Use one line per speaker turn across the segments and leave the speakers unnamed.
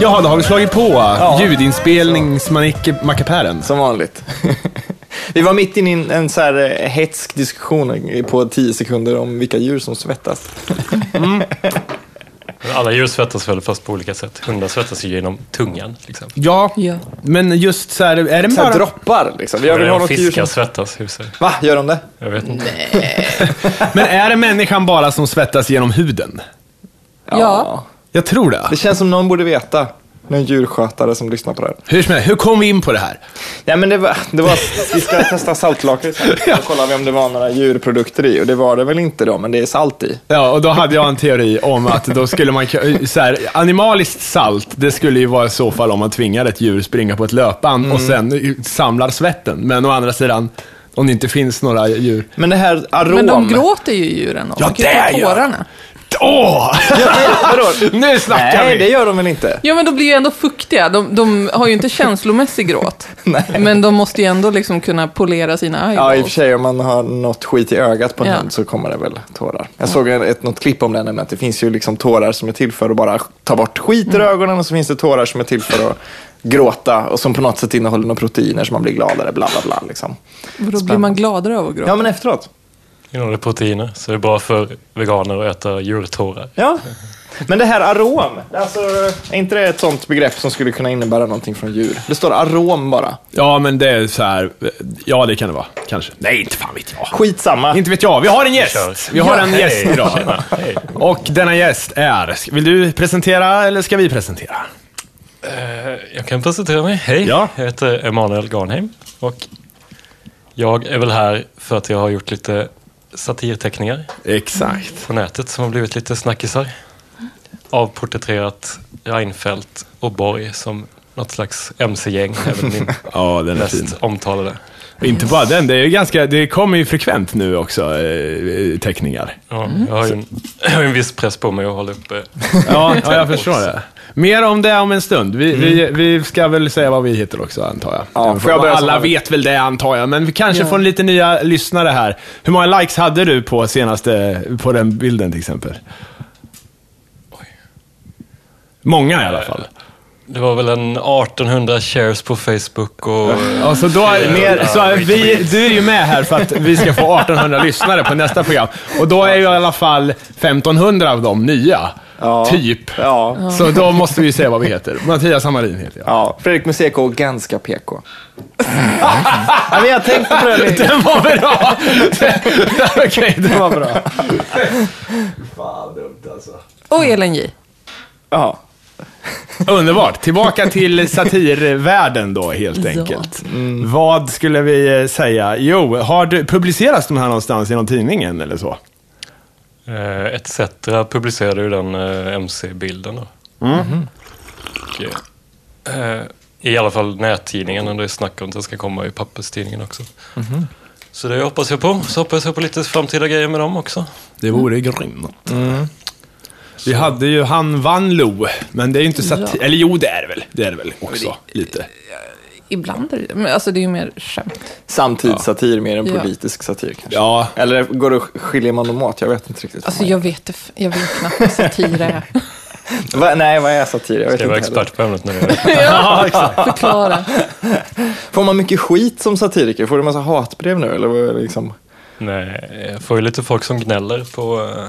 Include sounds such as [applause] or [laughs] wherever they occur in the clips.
Jaha, då har vi slagit på ljudinspelningsmackapären.
Som vanligt. [laughs] Vi var mitt inne i en, en så här eh, hätsk diskussion på 10 sekunder om vilka djur som svettas.
Alla djur svettas väl fast på olika sätt. Hundar svettas ju genom tungan till exempel.
Ja,
Ja.
men just så här, är den
Så här
bara...
droppar liksom. Jag vill ha
Medan
något djur
Fiskar
som...
svettas, hur ser det?
Va, gör de det?
Jag vet inte.
Men är det människan bara som svettas genom huden?
Ja.
Jag tror det.
Det känns som någon borde veta. Någon djurskötare som lyssnar på det här.
Hur som helst, hur kom vi in på det här?
Nej men det var, det var vi [laughs] ska testa saltlakrit sen. Då kollar vi om det var några djurprodukter i och det var det väl inte då, men det är salt i.
Ja, och då hade jag en teori om att då skulle man, så här, animaliskt salt, det skulle ju vara i så fall om man tvingar ett djur springa på ett löpband
Mm.
och sen samlar svetten. Men å andra sidan, om det inte finns några djur.
Men det här arom.
Men de gråter ju djuren. och
Ja,
de kan
det
ju få
gör de.
tårarna.
Åh!
[laughs] Vadå?
Nu snackar
Nej,
vi!
det gör de väl inte?
Ja, men de blir ju ändå fuktiga. De, de har ju inte känslomässig
[laughs]
gråt. Men de måste ju ändå liksom kunna polera sina
Ja, i och
eyeballs.
för sig om man har något skit i ögat på en
Ja.
hund så kommer det väl tårar. Jag såg en- ett, något klipp om det, nämligen att det finns ju liksom tårar som är till för att bara ta bort skit
Mm.
ur ögonen och så finns det tårar som är till för att gråta och som på något sätt innehåller några proteiner så man blir gladare, bla bla bla. Liksom.
Och då blir man gladare av att gråta.
Ja, men efteråt.
Innehåller proteiner, så det är bra för veganer att äta djurtårar.
Ja. Men det här arom, alltså, är inte det ett sånt begrepp som skulle kunna innebära någonting från djur? Det står arom bara.
Ja, men det är så här, ja det kan det vara, kanske. Nej, inte fan vet jag.
Skitsamma.
Inte vet jag, vi har en
kör.
gäst! Vi har en
Hej,
gäst idag.
tjena, [laughs] hej.
Och denna gäst är, vill du presentera eller ska vi presentera?
Eh, Jag kan presentera mig. Hej,
Ja.
jag heter Emanuel Garnheim och jag är väl här för att jag har gjort lite satirteckningar
Exakt.
på nätet som har blivit lite snackisar. Avporträtterat Reinfeldt och Borg som något slags mc-gäng, även
[laughs]
min
Ja, den är fin.
mest omtalade.
Och Inte bara den, det, är ju ganska, det kommer ju frekvent nu också, eh, teckningar.
Ja,
Mm.
jag, har ju en, jag har ju en viss press på mig att hålla eh, uppe.
Ja, ja, jag förstår det. Mer om det om en stund. Vi, vi, vi ska väl säga vad vi heter också, antar jag.
Mm. Ja,
Även
får jag
om
börja
Alla
svara?
vet väl det, antar jag. Men vi kanske
Ja.
får lite nya lyssnare här. Hur många likes hade du på senaste, på den bilden till exempel? Många i alla fall.
Det var väl en 1800 shares på Facebook och...
Ja, så då, mer, så vi, du är ju med här för att vi ska få 1800 lyssnare på nästa program. Och då är ju i alla fall 1500 av dem nya.
Ja.
Typ.
Ja.
Så då måste vi ju säga vad vi heter. Mattias Hammarin heter jag.
Ja, Fredrik Museko och ganska PK. ja, men jag tänkte
[laughs]
på det. lite.
Den var
[laughs]
bra! Okej, det var bra.
Och Ellen J.
Ja.
Underbart. Tillbaka till satirvärlden då, helt enkelt. Vad skulle vi eh, säga? Jo, har du, publiceras de här någonstans i någon tidning än eller så?
Eh, ETC publicerade ju den eh, MC-bilden då.
Mm.
Och, eh, I alla fall nättidningen, och det är snack om att den ska komma i papperstidningen också.
Mm-hmm.
Så det hoppas jag på. Så hoppas jag på lite framtida grejer med dem också.
Det vore mm. grymt. Vi hade ju han Vanlo, men det är ju inte satir...
Ja.
Eller jo, det är det väl. Det är det väl också, lite.
Ibland är det men alltså det är ju mer skämt.
Samtidssatir mer än
Ja.
politisk satir kanske.
Ja.
Eller går det, skiljer man dem åt? Jag vet inte riktigt.
Alltså jag vet, det f- jag vet knappt vad
[laughs]
satir är.
Va, nej, vad är satir? Jag vet
Ska jag
inte
vara
heller.
expert på ämnet nu?
Förklara.
Får man mycket skit som satiriker? Får du massa hatbrev nu? Eller vad är det liksom?
[laughs] Nej, jag får ju lite folk som gnäller på, eh,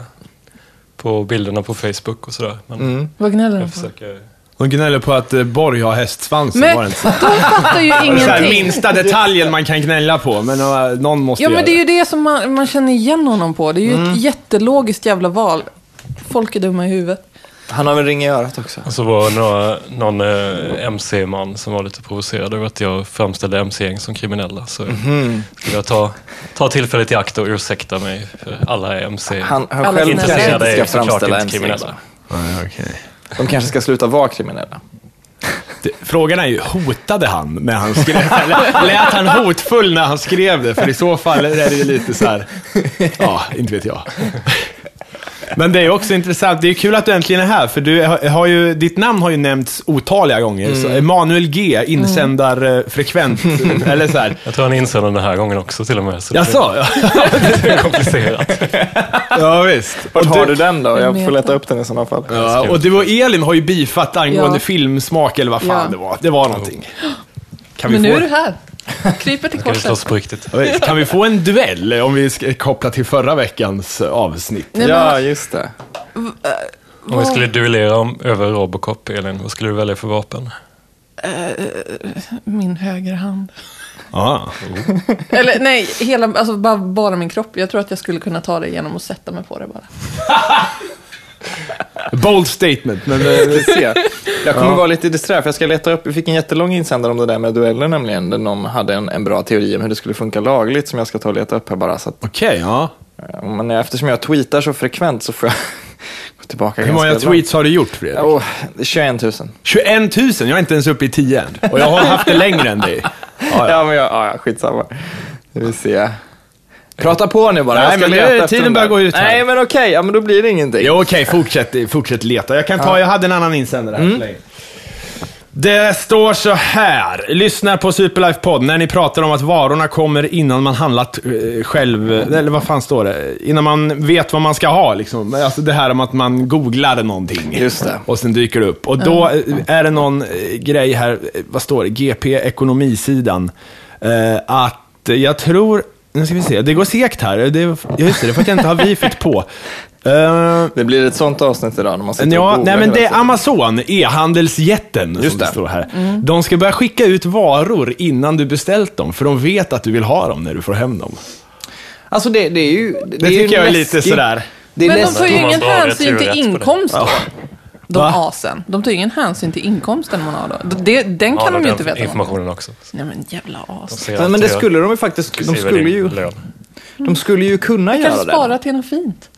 på bilderna på Facebook och sådär. Men
Mm.
Vad gnäller de
jag
på?
försöker...
De gnäller på att eh, Borg har hästsvans.
Men
var det
de
inte så? [laughs]
fattar ju
Så här,
ingenting.
minsta detaljen man kan gnälla på, men eh, någon måste
Ja,
göra
men det är ju det som man, man känner igen honom på. Det är ju
Mm.
ett jättelogiskt jävla val. Folk är dumma i huvudet.
Han har väl ring i örat också?
Och så var det några, någon eh, MC-man som var lite provocerad över att jag framställde MC-gäng som kriminella. Så
Mhm.
skulle jag ta, ta tillfället i akt och ursäkta mig för alla är MC.
Han, han
Alla
själv
som är
kanske
intresserade
inte
är
ska
ju såklart
framställa
inte
MC.
kriminella.
Nej, okej.
De kanske ska sluta vara kriminella.
Det- Frågan är ju, hotade han när han skrev eller Lät han hotfull när han skrev det? För i så fall är det ju lite så här, ja, inte vet jag. Men det är ju också intressant, det är kul att du äntligen är här, för du har har ju, ditt namn har ju nämnts otaliga gånger. Så
Mm.
Emanuel G, insändarfrekvent, eller så här.
Jag tror han inser den här gången också till och med. Så
Jaså?
det är komplicerat.
Ja, visst.
Vart
Och
har
du-
du den då? Jag
Vem
får
vet
leta upp den i sådana fall.
Ja, och du och Elin har ju bifatt angående
Ja.
filmsmak eller vad fan
Ja.
det var. Det var någonting. Kan vi,
Men nu
få,
är du här.
Kan
Kryper till
vi
korset.
slåss på riktigt?
Ja, visst. kan vi få en duell om vi ska koppla till förra veckans avsnitt?
Nej, men
Ja,
alltså,
just det.
Om vi skulle duellera om, över Robocop, Elin, vad skulle du välja för vapen?
Min högerhand.
Ah.
Eller nej, hela, alltså, bara, bara min kropp. Jag tror att jag skulle kunna ta det genom att sätta mig på det bara.
Bold statement, men eh,
Vi får se. Jag kommer vara lite disträ, för jag ska leta upp. Vi fick en jättelång insändare om det där med dueller nämligen. Där någon hade en, en bra teori om hur det skulle funka lagligt som jag ska ta och leta upp här bara. Så att,
okej. ja.
eh, men eftersom jag tweetar så frekvent så får jag [laughs] gå tillbaka
Hur många
ganska långt.
tweets har du gjort, Fredrik?
Åh, 21 000.
21 000, jag är inte ens uppe i 10 än. Och jag har haft det längre än dig.
Ja, men jag, ja, ja, skitsamma. Nu vi se. Prata på nu bara.
Nej,
jag ska
men
leta
det-
efter
tiden
den där.
börjar gå ut här.
Nej, men okej. Ja, men då blir det ingenting.
Jo, okej, fortsätt, fortsätt leta. Jag kan ta, jag hade en annan insändare här. så länge. Det står så här. Lyssnar på Superlife podd när ni pratar om att varorna kommer innan man handlat eh, själv. Eller vad fan står det? Innan man vet vad man ska ha. Liksom. Alltså det här om att man googlar någonting.
Just det.
Och sen dyker det upp. Och då eh, är det någon eh, grej här, eh, vad står det? GP ekonomisidan. Eh, att eh, jag tror, nu ska vi se, det går segt här. Det, ja, just det, det är för att jag inte har wifi på. Eh,
Det blir ett sånt avsnitt idag när man sitter och
Ja,
googlar
nej, men
hela
det är
tiden.
Amazon, e-handelsjätten, som
Just
det
det.
står här. De ska börja skicka ut varor innan du beställt dem, för de vet att du vill ha dem när du får hem dem.
Alltså det, det är ju... Det,
Det,
är ju
tycker jag är
läskigt.
lite sådär...
Det är
Men de
läskigt.
tar ju
Om man
ingen
bara har
hänsyn
returrätt
till
på det.
inkomst då. De
Va?
asen. De tar ju ingen hänsyn till inkomsten man har då. Det, den kan de ju inte veta om.
Informationen också.
Nej men jävla as.
Ser
Men, men det
alltid-
skulle de ju faktiskt... De
inklusive
skulle
din
ju,
lön.
de skulle ju kunna
Kan
göra det.
spara till något fint.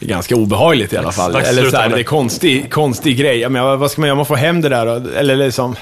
Det är ganska obehagligt i alla fall.
Slags
Eller såhär,
slutande.
det är en konstig, konstig grej. Jag menar, vad ska man göra? Man får hem det där och, Eller liksom...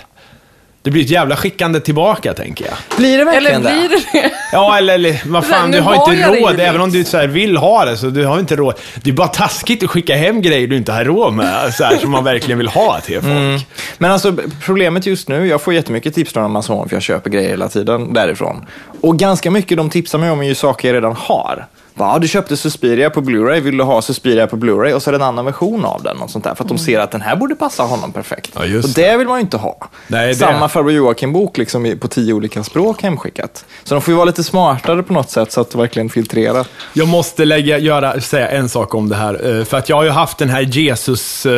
Det blir ett jävla skickande tillbaka, tänker jag.
Blir det
Eller
verkligen
blir det det?
Ja, eller, eller vad
Men
fan,
nu
du har
har
inte
jag det ju
råd.
liksom.
Även om du så här vill ha det, så du har inte råd. Det är bara taskigt att skicka hem grejer du inte har råd med, så här, som man verkligen vill ha till folk.
Men alltså problemet just nu, jag får jättemycket tips från Amazon för jag köper grejer hela tiden därifrån. Och ganska mycket de tipsar mig om är ju saker jag redan har. Va, ja, du köpte Suspiria på Blu-ray, vill du ha Suspiria på Blu-ray? Och så är det en annan version av den. Och sånt där, för att de ser att den här borde passa honom perfekt.
Ja, just
och det vill man ju inte ha.
Nej, det-
Samma farbror Joakim-bok liksom i- på tio olika språk hemskickat. Så de får ju vara lite smartare på något sätt så att verkligen filtrera.
Jag måste lägga, göra, säga en sak om det här. eh, För att jag har ju haft den här Jesus, eh,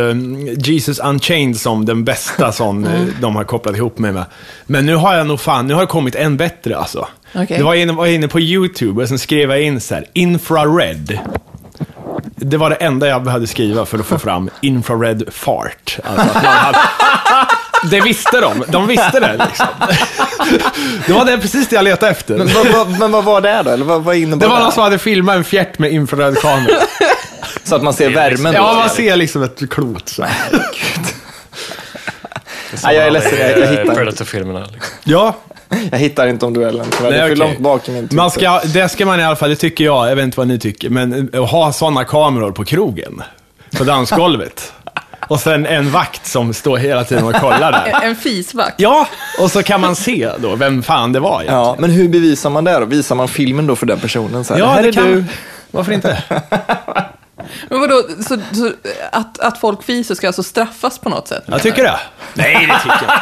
Jesus Unchained som den [laughs] bästa som eh, de har kopplat ihop mig med. Men nu har jag nog fan, nu har det kommit en bättre alltså.
Okej.
Det var inne, var inne på YouTube och sen skrev jag in så här, infrared. Det var det enda jag behövde skriva för att få [laughs] fram infrared fart. Alltså att man [laughs] hade, det visste de, de visste det liksom. [laughs] Det var det precis det jag letade efter.
Men vad, vad, men vad var det då? Eller vad, vad innebar
Det
det?
var någon som hade filmat en fjärt med infraröd kamera.
Så att man ser värmen? då?
Ja, man ser liksom ett klot. Så.
Nej, jag är ledsen, jag, jag hittar inte.
Predator-filmerna. Liksom.
Ja,
Jag hittar inte om duellen tyvärr. det är
nej,
för
okej.
långt bak i min
man
Twitter.
ska, Det ska man i alla fall, det tycker jag, jag vet inte vad ni tycker, men eh, ha sådana kameror på krogen. På dansgolvet. Och sen en vakt som står hela tiden och kollar där.
En- En fisvakt.
Ja, och så kan man se då vem fan det var. Ja,
Ja, men hur bevisar man det då? Visar man filmen då för den personen? Så här,
ja
här
det
är
kan [laughs]
du.
Varför inte?
Men vadå, så, så att, att folk fiser ska alltså straffas på något sätt?
Jag tycker det. Nej, det tycker jag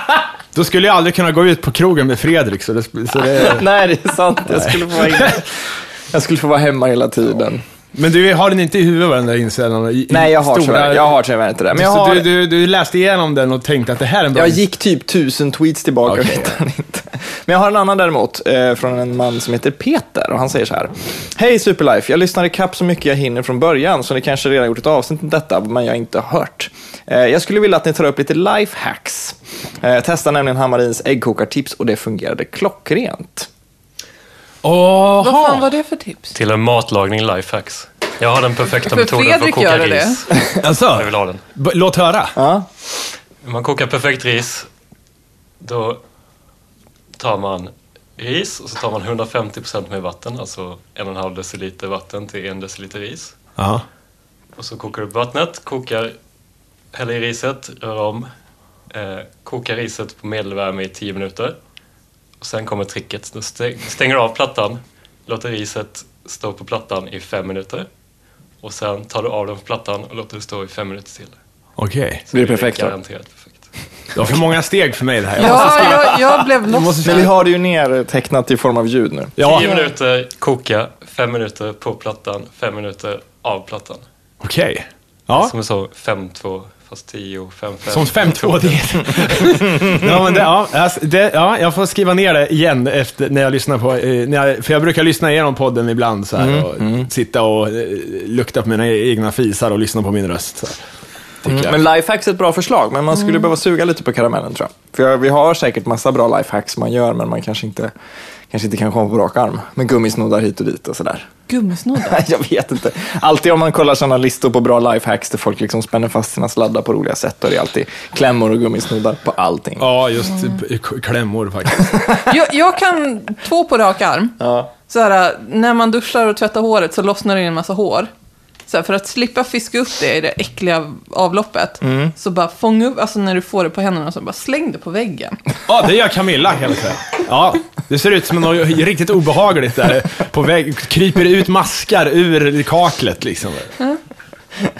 Då skulle jag aldrig kunna gå ut på krogen med Fredrik, så det, så det
Eh, Nej, det är sant. Jag skulle, få vara inne. [laughs] jag skulle få vara hemma hela tiden.
Men du har den inte i huvudet, vad den där insändaren? I- i
Nej, jag har
stora-
tyvärr, jag har tyvärr inte det. Men jag,
så
har,
du, du, du läste igenom den och tänkte att det här är en bra...
jag gick typ tusen tweets tillbaka och
Okej.
hittade den inte. Men jag har en annan däremot, eh, från en man som heter Peter. Och Han säger så här. Hej Superlife, jag lyssnar ikapp så mycket jag hinner från början, så ni kanske redan gjort ett avsnitt om detta, men jag har inte hört. Eh, jag skulle vilja att ni tar upp lite lifehacks. Eh, testa nämligen Hammarins äggkokartips och det fungerade klockrent.
Åh,
Vad fan var det för tips?
Till en matlagning lifehacks. Jag har den perfekta
För
metoden för att
Fredrik
koka
gör det.
ris.
alltså,
Jag vill ha den.
b- låt höra.
Ja.
Man kokar perfekt ris. Då tar man ris och så tar man 150% med vatten, alltså en och en halv deciliter vatten till en deciliter ris.
Ja.
Och så kokar du upp vattnet, kokar, häller i riset, rör om, eh, kokar riset på medelvärme i 10 minuter. Och sen kommer tricket, du stänger av plattan, låter riset stå på plattan i 5 minuter. Och sen tar du av den från plattan och låter det stå i fem minuter till.
Okej.
Det är perfekt då.
Garanterat perfekt.
Det var för många steg för mig det här.
Ja, jag, jag blev lost.
Men vi har det ju nertecknat i form av ljud nu.
Ja,
Tio minuter koka, fem minuter på plattan, fem minuter av plattan.
okej. Ja,
Som en sån 5-2, fast 10, 5-5.
som 5-2 det. [laughs] ja, men det, ja, alltså, det, ja, jag får skriva ner det igen efter, när jag lyssnar på, eh, när jag, för jag brukar lyssna igenom podden ibland så här, och sitta och eh, lukta på mina e- egna fisar och lyssna på min röst. Så. här. Tycker jag.
Men lifehacks är ett bra förslag, men man skulle
Mm.
behöva suga lite på karamellen tror jag. För jag, vi har säkert massa bra lifehacks man gör, men man kanske inte, kanske inte kan komma på rak arm. Med gummisnoddar hit och dit och sådär. [laughs]
Gummisnoddar.
Nej, jag vet inte. Alltid om man kollar sådana listor på bra lifehacks där folk liksom spänner fast sina sladdar på roliga sätt, då är det alltid klämmor och gummisnoddar på allting.
Ja, just eh, k- klämmor faktiskt.
Jag, jag kan två på rak arm.
Ja.
Så här, när man duschar och tvättar håret så lossnar det in en massa hår. Så här, för att slippa fiska upp det i det äckliga avloppet,
Mm.
så bara fånga upp, alltså när du får det på händerna, så bara släng det på väggen.
Ja, det gör Camilla kan jag säga. Ja, det ser ut som något riktigt obehagligt där. På väg, kryper ut maskar ur kaklet liksom.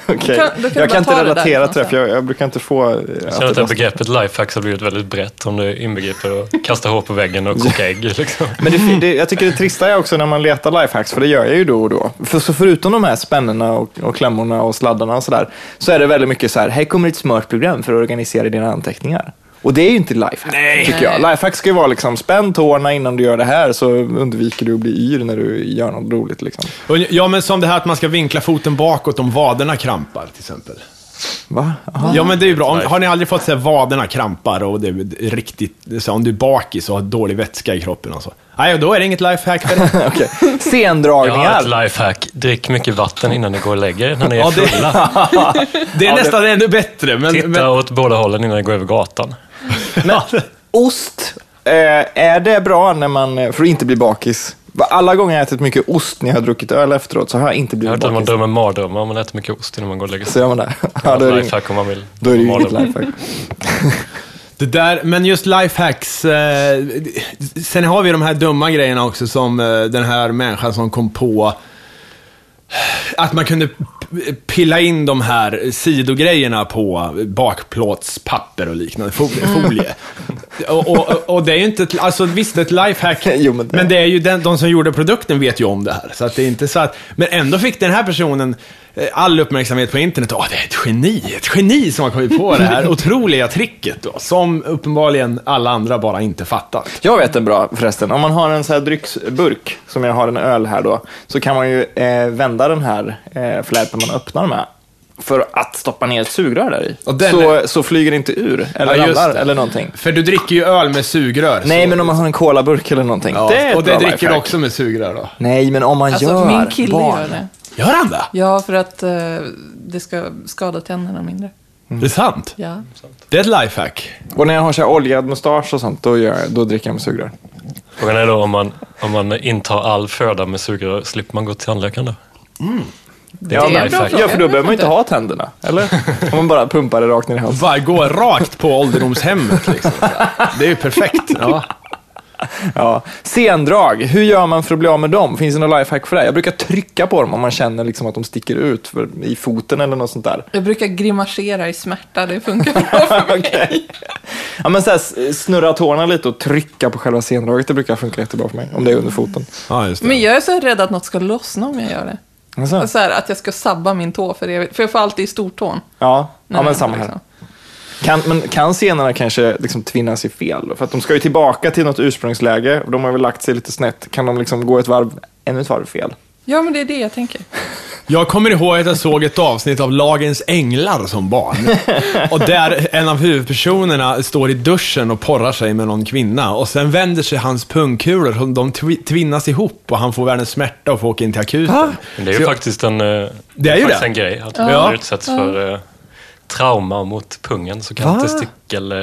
Okej.
Då kan- då
jag
kan du
kan
bara
inte
ta det
relatera
där
till det, för jag, jag brukar inte få... eh, Jag
Jag känner att det här begreppet lifehacks har blivit väldigt brett om det inbegriper att kasta hår på väggen och koka ägg. Liksom.
Men det, det, jag tycker det trista är också när man letar lifehacks, för det gör jag ju då och då. För så förutom de här spännena och, och klämmorna och sladdarna och sådär, så är det väldigt mycket så här, här kommer ett smart program för att organisera dina anteckningar. Och det är ju inte lifehack, tycker jag. Lifehack ska ju vara liksom, spänn tårna innan du gör det här så undviker du att bli yr när du gör något roligt. Liksom.
Och, ja, men som det här att man ska vinkla foten bakåt om vaderna krampar till exempel.
Va? Aha.
Ja, men det är ju bra. Om, har ni aldrig fått säga vaderna krampar och det är riktigt, så här, om du är bakis och har dålig vätska i kroppen och så. Nej, då är det inget lifehack. för det.
Okej.
Jag har ett
Sendragningar.
lifehack. Drick mycket vatten innan ni går och lägger er, när ni
[laughs]
är
Ja, [laughs] det-
fulla.
Det är nästan ännu bättre. Men,
Titta
men,
åt båda hållen innan ni går över gatan.
[laughs]
Ost. Eh, är det bra när man, eh, för att inte bli bakis? Alla gånger jag ätit mycket ost när jag har druckit öl efteråt så har jag inte
Jag har
blivit
hört att man
bakis.
drömmer mardrömmar om man äter mycket ost innan man går och lägger
Så
sig.
gör man det? Ja, då
Ja,
är det inget-
lifehack om man vill.
Då är det ju inget
Mardrömmar.
lifehack.
det där, men just lifehacks. Eh, sen har vi de här dumma grejerna också som eh, den här människan som kom på att man kunde p- pilla in de här sidogrejerna på bakplåtspapper och liknande, folie.
Mm.
folie. Och, och, och det är ju inte ett, alltså visst det är ett lifehack,
[laughs] Jo, men det-
men det är ju den, de som gjorde produkten vet ju om det här. Så att det är inte så att, men ändå fick den här personen eh, all uppmärksamhet på internet. Åh, det är ett geni, ett geni som har kommit på det
[laughs]
här otroliga tricket då, som uppenbarligen alla andra bara inte fattar.
Jag vet en bra förresten. Om man har en så här drycksburk, som jag har en öl här då, så kan man ju eh, vända den här eh, fläpen man öppnar med för att stoppa ner ett sugrör där i.
Och den
så, så flyger det inte ur eller
Ja, just
ramlar
det.
eller någonting.
För du dricker ju öl med sugrör.
Nej,
så,
men om man har en colaburk eller någonting.
ja,
det är ett
och det
bra
dricker du
lifehack.
också med sugrör då?
Nej, men om man
Alltså,
gör
min kille
barn.
gör det.
Gör han det?
Ja, för att eh, det ska skada tänderna mindre.
Mm. Det är sant.
Ja.
Det är ett lifehack.
Och när jag har så här oljad mustasch och sånt, då, gör jag, då dricker jag med sugrör.
Frågan är då om man, om man intar all föda med sugrör, slipper man gå till tandläkaren då?
Ja,
är en
men-
bra fråga.
ja, för då
Jag
behöver man
vet
inte ha tänderna, eller? Om man bara pumpar det rakt ner i halsen.
Bara gå rakt på ålderdomshemmet liksom. Det är ju perfekt. Ja.
Ja. Sendrag, hur gör man för att bli av med dem? Finns det något lifehack för det? Jag brukar trycka på dem om man känner liksom att de sticker ut för, i foten eller något sånt där. [laughs]
Jag brukar grimasera i smärta, det funkar bra för mig.
Okej. Ja, men så här, s- snurra tårna lite och trycka på själva sendraget, det brukar funka jättebra för mig. Om det är under foten.
ja, just
Men
det.
jag är så här rädd att något ska lossna om jag gör det.
Alltså,
Så här, att jag ska sabba min tå för evigt. För jag får alltid i stortån.
ja, ja, men
Nej,
samma här.
liksom.
Kan, men kan scenerna kanske liksom tvinna sig fel? För att de ska ju tillbaka till något ursprungsläge och de har väl lagt sig lite snett. Kan de liksom gå ett varv, ännu ett varv fel?
Ja, men det är det jag tänker.
Jag kommer ihåg att jag såg ett avsnitt av Lagens Änglar som barn. Och där en av huvudpersonerna står i duschen och porrar sig med någon kvinna. Och sen vänder sig hans pungkulor, som de twi- tvinnas ihop och han får världens smärta och får åka in till akuten.
Men det är ju faktiskt en, eh,
Det är ju
faktiskt
det.
en grej. Att
Ja.
man utsätts för eh, trauma mot pungen så kan
Va?
testikel, eh,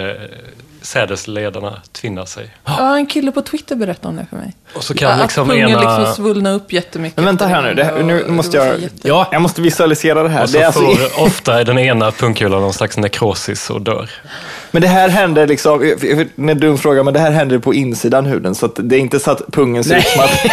sädesledarna tvinna sig.
Ja, en kille på Twitter berättade om det för mig.
Och så kan
att
liksom
pungen
ena...
liksom svullna upp jättemycket.
Men vänta här nu, det, här- nu
Och
måste
det var
jag...
så jätte-
Ja,
Jag måste visualisera det här.
och så
Det är alltså
får ofta den ena pungkulan någon slags nekrosis och dör.
Men det här händer liksom, jag- jag vet, det är en dum fråga, men det här händer på insidan huden. Så att det är inte så att pungen ser ut som att...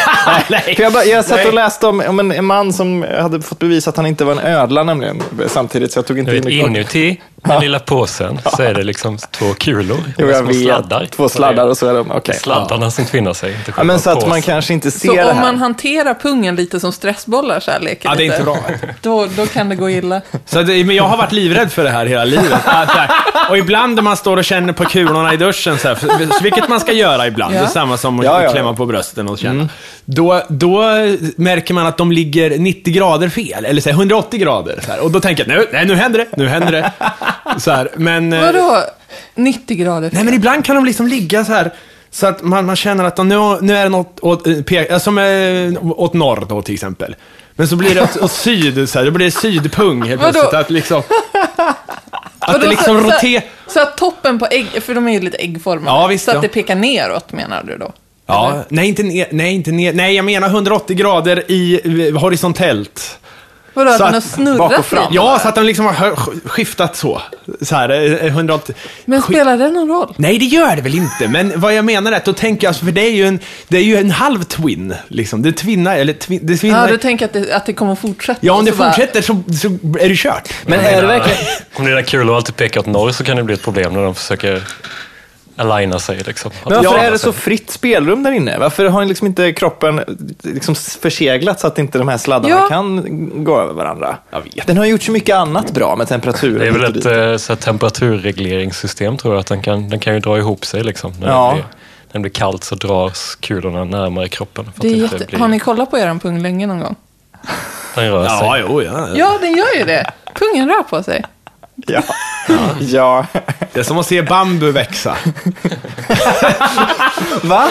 Nej.
För jag, bara, jag satt
Nej.
och läste om, om en, en man som hade fått bevisa att han inte var en ödla nämligen. Samtidigt så jag tog inte
Du vet,
in det. [laughs]
inuti den lilla påsen så är det liksom två kulor.
Jo, jag
små
vet. Två sladdar och så är de, okej.
Det är Sladdarna som tvinnar sig, inte
Ja,
själva
men så att man
påsen.
kanske inte ser
Så
det
om
här.
man hanterar pungen lite som stressbollar så här leker
Ja, det är
lite,
inte bra.
Då, då kan det gå illa.
Så det, men jag har varit livrädd för det här hela
[laughs]
livet. Ja, så här. Och ibland när man står och känner på kulorna i duschen, så här, för- så vilket man ska göra ibland,
Ja.
det är samma som att
Ja, Mm. ja, ja.
klämma på brösten och känna. Då, då märker man att de ligger 90 grader fel, eller så här, 180 grader. Så här. Och då tänker jag, nej, nej nu händer det, nu händer
[laughs]
det. Så här, men, eh,
Vadå 90 grader?
Nej men ibland kan de liksom ligga så här så att man, man känner att de, nu, nu är det något åt, eh, pe- ja, som eh, åt norr då till exempel. Men så blir det åt, åt syd, så här, då blir det sydpung helt
Vadå?
plötsligt. Att
[laughs]
liksom... Att det
Vadå,
liksom
så- så-
roterar...
Så att toppen på ägg, för de är ju lite äggformade.
Ja, visst,
så att
ja.
det pekar neråt menar du då?
Ja, nej inte ner, nej inte ner, nej jag menar 180 grader i eh, horisontellt.
Vadå, att
Så
den har
att-
bak
snurrat
och fram.
fram?
Ja, så att de liksom har hö- skiftat så. Så här, eh, 180.
Men
Skit-
spelar det någon roll?
Nej, det gör det väl inte. Men vad jag menar är att då tänker jag, alltså, för det är ju en, det är ju en halv twin. Liksom. Det twinnar, eller twin, det
Ja,
twinnar.
du tänker att det, att det kommer fortsätta?
Ja, om
och
det
så bara-
fortsätter så, så är det kört.
Men är det verkligen...
Om dina kulor alltid pekar åt norr så kan det bli ett problem när de försöker aligna sig. Liksom. Att
Men varför
de-
är det så fritt spelrum där inne? Varför har liksom inte kroppen liksom förseglat så att inte de här sladdarna
Ja.
kan gå över varandra?
Jag vet.
Den har gjort så mycket annat bra med temperaturen.
Det är väl
hit och
ett
dit.
eh, så här, temperaturregleringssystem tror jag. Att den, kan, den kan ju dra ihop sig. Liksom, när
Ja.
det blir, när det blir kallt så dras kulorna närmare kroppen. För att
Det är
inte
jätte...
blir,
Har ni kollat på er pung länge någon gång?
Den rör sig.
Ja, jo, ja.
Ja, den gör
[laughs]
ju det. Pungen rör på sig.
Ja. ja.
Det är som att se bambu [laughs] växa.
Va?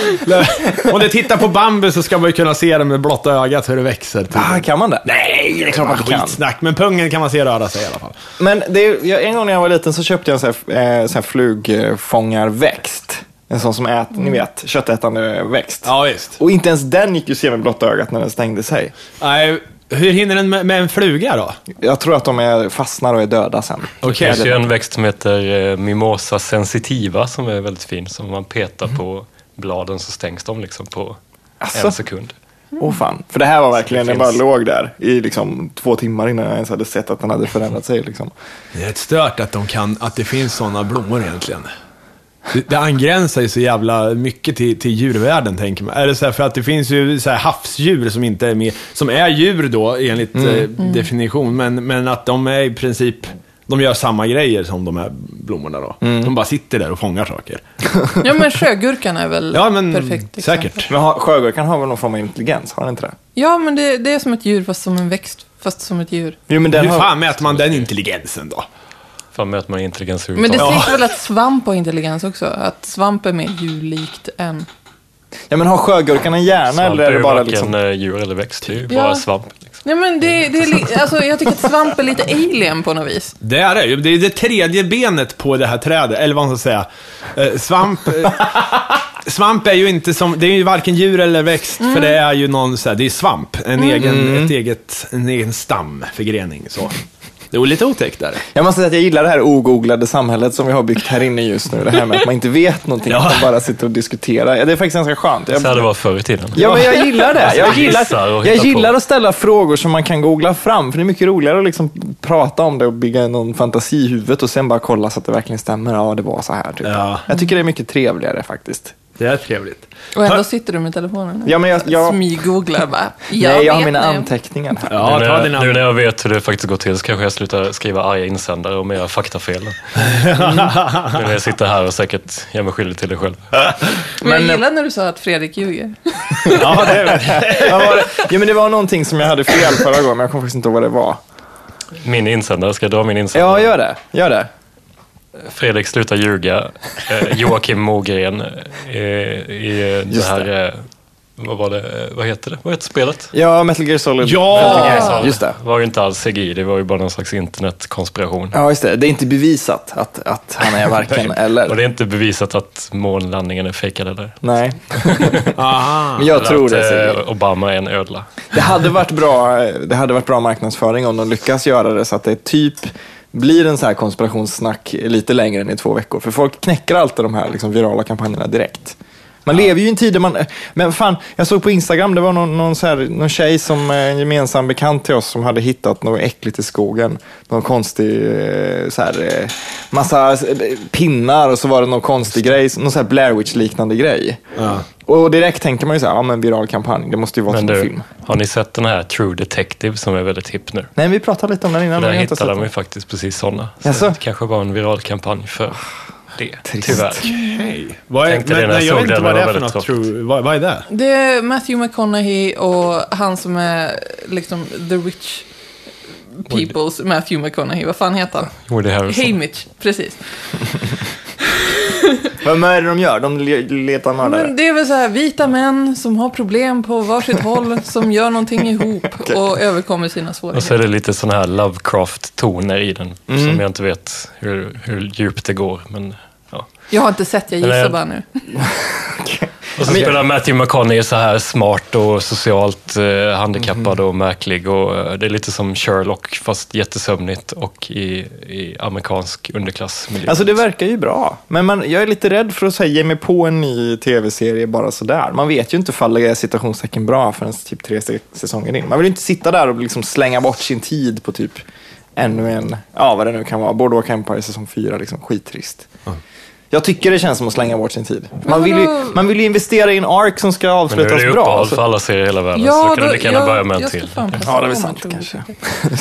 om du tittar på bambu så ska man ju kunna se det med blotta ögat hur det växer. typ.
[laughs] Ah, kan man det?
Nej, det är klart man
kan.
Skitsnack, men pungen kan man se röra sig i alla fall.
Men det är, jag, en gång när jag var liten så köpte jag en sån här, eh, sån här flugfångarväxt. En sån som ät, ni vet, köttätande växt.
Ja, visst.
Och inte ens den gick ju att se med blotta ögat när den stängde sig.
Nej, hur hinner den med, med en fluga då?
Jag tror att de är, fastnar och är döda sen.
Okej.
Det finns ju en växt som heter eh, Mimosa sensitiva som är väldigt fin. Som man petar
Mm.
på bladen så stängs de liksom på
Asså.
en sekund.
Alltså, Åh fan. För det här var verkligen,
det
den bara
finns.
låg där i liksom två timmar innan jag ens hade sett att den hade förändrat sig. Liksom.
Det är rätt stört att, de kan, att det finns sådana blommor egentligen. Det, det angränsar ju så jävla mycket till, till djurvärlden, tänker man. Eller så här, för att det finns ju så här havsdjur som inte är med, som är djur då enligt
Mm.
eh, definition, men, men att de är i princip, de gör samma grejer som de här blommorna då.
Mm.
De bara sitter där och fångar saker.
Ja, men sjögurkan är väl
Ja, men
perfekt exempel.
säkert.
Men har- sjögurkan har väl någon form av intelligens? Har den inte det?
Ja, men det, det är som ett djur fast som en växt, fast som ett djur.
Jo, men den
Hur
har...
fan mäter man den intelligensen då?
Fan möter man intelligens
Men det
överhuvudtaget.
sägs väl att svamp har intelligens också? Att svamp är mer djurlikt än...
Ja, men har sjögurkan en hjärna eller är det bara
varken
liksom...
eh, djur eller växt, det är ju
Ja.
bara svamp. Liksom.
Nej, men det, det är li... alltså, jag tycker att svamp är lite alien på något vis.
Det är det ju. Det är det tredje benet på det här trädet, eller vad man ska säga. Eh, svamp, [laughs] eh, svamp är ju inte som, det är ju varken djur eller växt, för det är ju någon så här, det är svamp. En egen, ett eget, en egen stam, förgrening så. Det är lite otäckt där.
Jag måste säga att jag gillar det här ogooglade samhället som vi har byggt här inne just nu. Det här med att man inte vet någonting, att man bara sitter och diskuterar. Ja, Det är faktiskt ganska skönt.
Så här
Jag...
det var förr i tiden.
Ja, men jag gillar det. Jag
Alltså,
gillar,
gissar och
jag
hittar på.
gillar att ställa frågor som man kan googla fram, för det är mycket roligare att liksom prata om det och bygga någon fantasi i huvudet och sen bara kolla så att det verkligen stämmer. Ja, det var så här. Typ.
Ja.
Jag tycker det är mycket trevligare faktiskt.
Det är trevligt.
Och
Ta-
ändå sitter du med telefonen.
Ja, men jag- jag-
Smyggooglar bara.
Nej, jag har
vet
mina
nu.
anteckningar här.
Ja,
nu,
ta
när,
dina...
nu när jag vet hur det faktiskt går till så kanske jag slutar skriva arga insändare och
[laughs]
mera faktafel. Mm. Nu när jag sitter här och säkert gör mig skyldig till det själv.
Men, jag gillar när du sa att Fredrik ljuger.
Ja, det är
Vad var det? Jo, men det var någonting som jag hade fel förra gången, men jag kommer faktiskt inte ihåg vad det var.
Min insändare, ska jag dra min insändare?
Ja, gör det. Gör det.
Fredrik slutar ljuga. Eh, Joakim Mogren eh, i eh, det
Just
här... Eh, vad var det? Eh, Vad heter det? Vad heter spelet?
Ja, Metal Gear Solid.
Ja!
Alltså,
Just det.
Det var ju inte alls CGI, det var ju bara någon slags internetkonspiration.
Ja, just det. Det är inte bevisat att, att han
[laughs]
är varken
Och
eller.
det är inte bevisat att månlandningen är fejkad eller?
Nej,
Aha.
men jag
Eller
tror
att,
det.
eh,
Sigrid.
Obama är en ödla.
Det hade, varit bra, det hade varit bra marknadsföring om de lyckas göra det så att det är typ blir en så här konspirationssnack lite längre än i två veckor. För folk knäcker alltid de här liksom, virala kampanjerna direkt. Man lever ju i en tid där man... Men fan, jag såg på Instagram, det var någon, någon, så här, någon tjej som eh, en gemensam bekant till oss som hade hittat något äckligt i skogen. Någon konstig... eh, Så här, eh, massa eh, pinnar och så var det någon konstig grej. Någon så här Blair Witch-liknande grej.
Ja.
Och direkt tänker man ju så här, ja men viral kampanj, det måste ju vara
Men
som en
du,
film.
har ni sett den här True Detective som är väldigt hipp nu?
Nej, vi pratade lite om den innan.
Där
men jag har inte
hittar
sett
de ju
den.
faktiskt precis sådana. Så
Jaså? Ah,
det kanske var en viral kampanj för det,
Trist.
tyvärr.
Hej. Vad är,
Tänkte det
men,
när jag
nej, jag
såg
vet inte
den,
vad det
det
är för
var väldigt
något.
tråkigt.
True, vad, vad är det?
Det är Matthew McConaughey och han som är liksom the rich peoples Matthew McConaughey. Vad fan heter han?
Woody Harrelson.
Hey Mitch, precis.
Vad är det de gör? De le- letar mördare?
Men det är väl så här vita män som har problem på
[laughs]
varsitt håll, som gör någonting ihop och överkommer sina
Och så är
svårigheter.
det lite sådana här Lovecraft-toner i den
Mm.
som jag inte vet hur, hur djupt det går. Men, ja.
Jag har inte sett, jag gissar
Alltså- Eller-
bara nu.
Och så spelar Matthew McConaughey så här smart och socialt eh, handikappad
Mhm.
och märklig. Och, eh, det är lite som Sherlock fast jättesömnigt och i, i amerikansk underklassmiljö.
Alltså det verkar ju bra, men man, jag är lite rädd för att säga ge mig på en ny tv-serie bara sådär. Man vet ju inte ifall det är citationstecken bra förrän typ tre se- säsonger in. Man vill ju inte sitta där och liksom slänga bort sin tid på typ ännu en, ja vad det nu kan vara, Boardwalk Empire säsong fyra, liksom skittrist.
Mm.
Jag tycker det känns som att slänga bort sin tid. Man vill ju, man vill ju investera i en ark som ska
men nu är
avslutas
det ju
bra. alltså.
uppehåll för
Så,
alla serier i hela världen, så då kan du lika gärna börja med en
jag ska
till.
fan passa
ja, det är väl
på mig,
sant
tror jag.
kanske. [laughs] Det är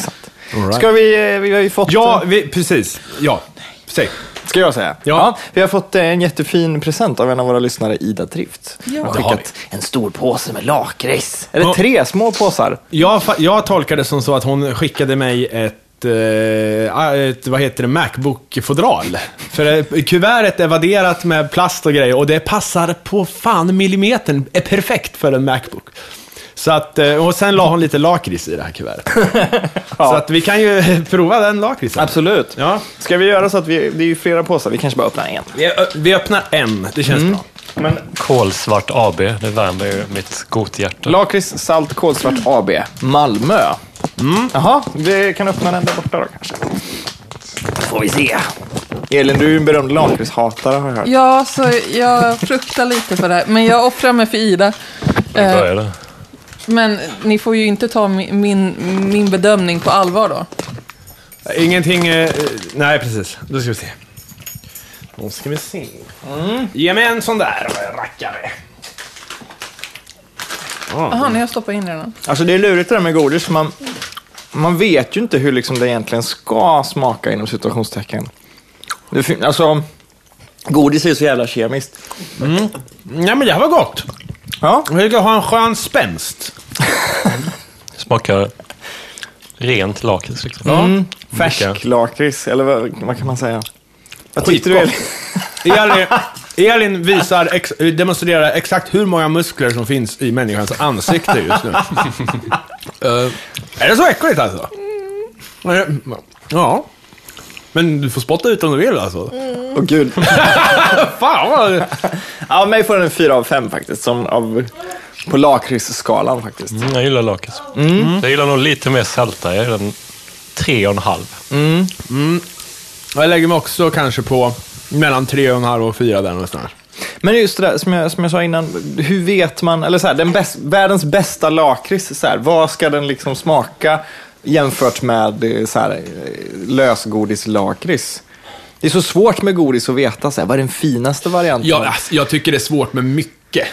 sant. Ska vi, eh, vi har ju fått...
Ja, vi, precis. Ja, säg.
Ska jag säga?
Ja.
Vi har fått eh, en jättefin present av en av våra lyssnare, Ida Drift.
Ja.
Hon har
Det har
skickat en stor påse med lakrits. Eller
Ja.
tre små påsar.
Jag, fa- jag tolkar det som så att hon skickade mig ett, eh, ett vad heter det, Macbook-fodral. För eh, kuvertet är vadderat med plast och grejer och det passar på fan millimetern, är perfekt för en Macbook. Så att, eh, och sen la hon lite lakrits i det här [laughs] kuvertet. Så att vi kan ju [laughs] prova den lakritsen.
Absolut.
Ja.
Ska vi göra så att vi, det är ju flera påsar, vi kanske bara öppnar en.
Vi, ö- vi öppnar en, det känns bra.
Kolsvart AB, det värmer ju mitt gothjärta.
Lakrits Salt Kolsvart AB, Malmö.
Mm.
Jaha, vi kan öppna den där borta då kanske. Får vi se. Elin, du är ju en berömd lakritshatare har jag hört.
Ja, så jag fruktar lite för det här, men jag offrar mig för Ida.
Hur
Eh,
börjar det?
Men ni får ju inte ta mi- min, min bedömning på allvar då.
Ingenting... Eh, nej, precis. Då ska vi se. Mm. Då ska vi se. Ge mig en sån där rackare.
Jaha, ni har stoppat in den.
Alltså det är lurigt det där med godis. för Man, man vet ju inte hur liksom det egentligen ska smaka inom situationstecken. Det fin- alltså, godis är ju så jävla kemiskt.
Nej, men det här var gott.
Ja,
Jag vill ha en skön spänst.
Smakar rent lakrits liksom.
färsk lakrits, eller vad, vad kan man säga? Vad tyckte du?
Skitgott. [laughs] Elin, Elin visar, ex, demonstrerar exakt hur många muskler som finns i människans ansikte just nu. [laughs] Eh, är det så äckligt alltså? Eh, Ja. Men du får spotta ut om du vill alltså.
Åh gud. [laughs]
Fan vad...
Ja, mig får den en fyra av fem faktiskt. Som av, på lakritsskalan faktiskt.
Mm, jag gillar lakrits. Jag gillar nog lite mer sälta. Jag gillar en tre och en halv.
Jag lägger mig också kanske på mellan tre och en halv och fyra där någonstans.
Men just det där som jag, som jag sa innan, hur vet man, eller så här, den bäst, världens bästa lakrits, så här, vad ska den liksom smaka jämfört med eh, så här, eh, lösgodislakrits? Det är så svårt med godis att veta, så här, vad är den finaste varianten?
Jag, alltså, jag tycker det är svårt med mycket.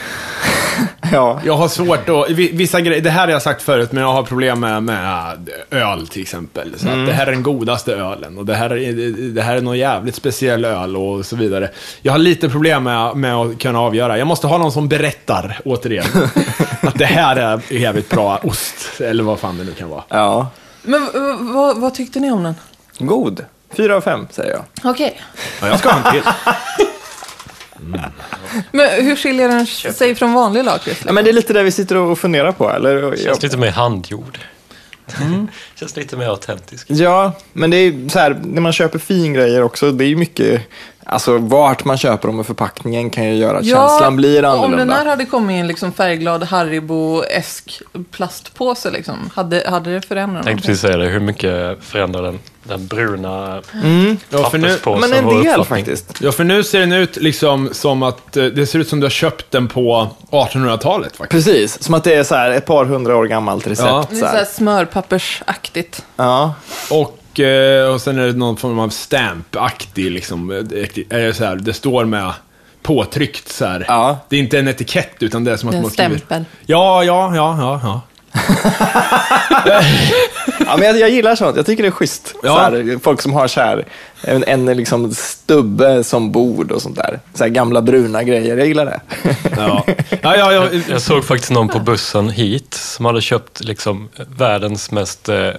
ja.
Jag har svårt att... vi- Vissa grejer, det här har jag sagt förut, men jag har problem med, med äh, öl till exempel. Så att det här är den godaste ölen och det här, är- det här är någon jävligt speciell öl och så vidare. Jag har lite problem med, med att kunna avgöra. Jag måste ha någon som berättar, återigen, att det här är jävligt bra ost, eller vad fan det nu kan vara.
ja.
Men v- v- vad, vad tyckte ni om den?
God. Fyra av fem, säger jag.
Okej.
Ja, jag ska ha en till.
Men hur skiljer den sig från vanlig lakrits?
Ja, men det är lite det vi sitter och funderar på, eller?
Känns lite mer handgjord. [laughs] Känns lite mer autentisk.
Ja, men det är så här, när man köper fingrejer också, det är ju mycket Alltså vart man köper dem och förpackningen kan ju göra att
Ja,
känslan blir
Om den
annorlunda.
här hade kommit i en liksom färgglad Haribo-esk plastpåse, liksom, hade, hade det förändrat
tänkte
någonting?
precis säga det. Hur mycket förändrar den, den bruna
Ja, för nu,
papperspåsen
Men en
vår
del
uppfattning?
faktiskt.
ja, för nu ser den ut liksom som att eh, det ser ut som du har köpt den på 1800-talet faktiskt.
Precis, som att det är så här ett par hundra år gammalt recept.
Ja.
Det
Så
är så här
här.
smörpappersaktigt.
Ja.
Och, eh, och sen är det någon form av stamp-aktig, liksom. eh, det Är det, så här, det står med påtryckt så här.
Ja.
Det är inte en etikett, utan det är som att
Det är
man
en
skriver-
stämpel.
Ja, ja, ja, ja, ja.
Ja, men jag, jag gillar sånt. Jag tycker det är schysst.
Ja.
Så här, folk som har så här, en, en liksom stubbe som bord och sånt där. Så här gamla bruna grejer. Jag gillar det. [laughs]
Ja, ja, ja, ja.
Jag såg faktiskt någon på bussen hit som hade köpt liksom världens mest... Eh, eh,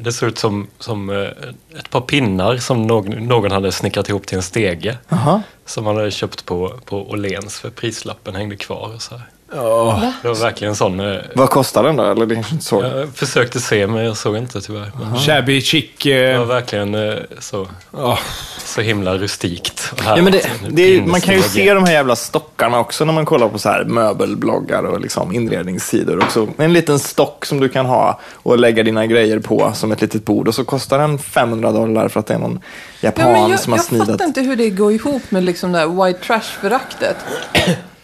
det såg ut som, som eh, ett par pinnar som någon, någon hade snickrat ihop till en stege.
Jaha.
Som han hade köpt på, på Åhléns för prislappen hängde kvar. Och så här.
Ja.
Det var verkligen en sån... Eh,
Vad kostar den då? Eller det kanske inte så.
jag försökte se men jag såg inte tyvärr. Men
Shabby chic.
det var
Eh,
verkligen eh, så,
ja.
så himla rustikt. och typ
Ja, men det,
härligt.
det är, man kan ju
Pinnstege.
se de här jävla stockarna också när man kollar på så här möbelbloggar och liksom inredningssidor. Också. En liten stock som du kan ha och lägga dina grejer på som ett litet bord. Och så kostar den 500 dollar för att det är någon
Ja,
japan
men jag
som har
jag
snidat.
fattar inte hur det går ihop med liksom det här white trash-föraktet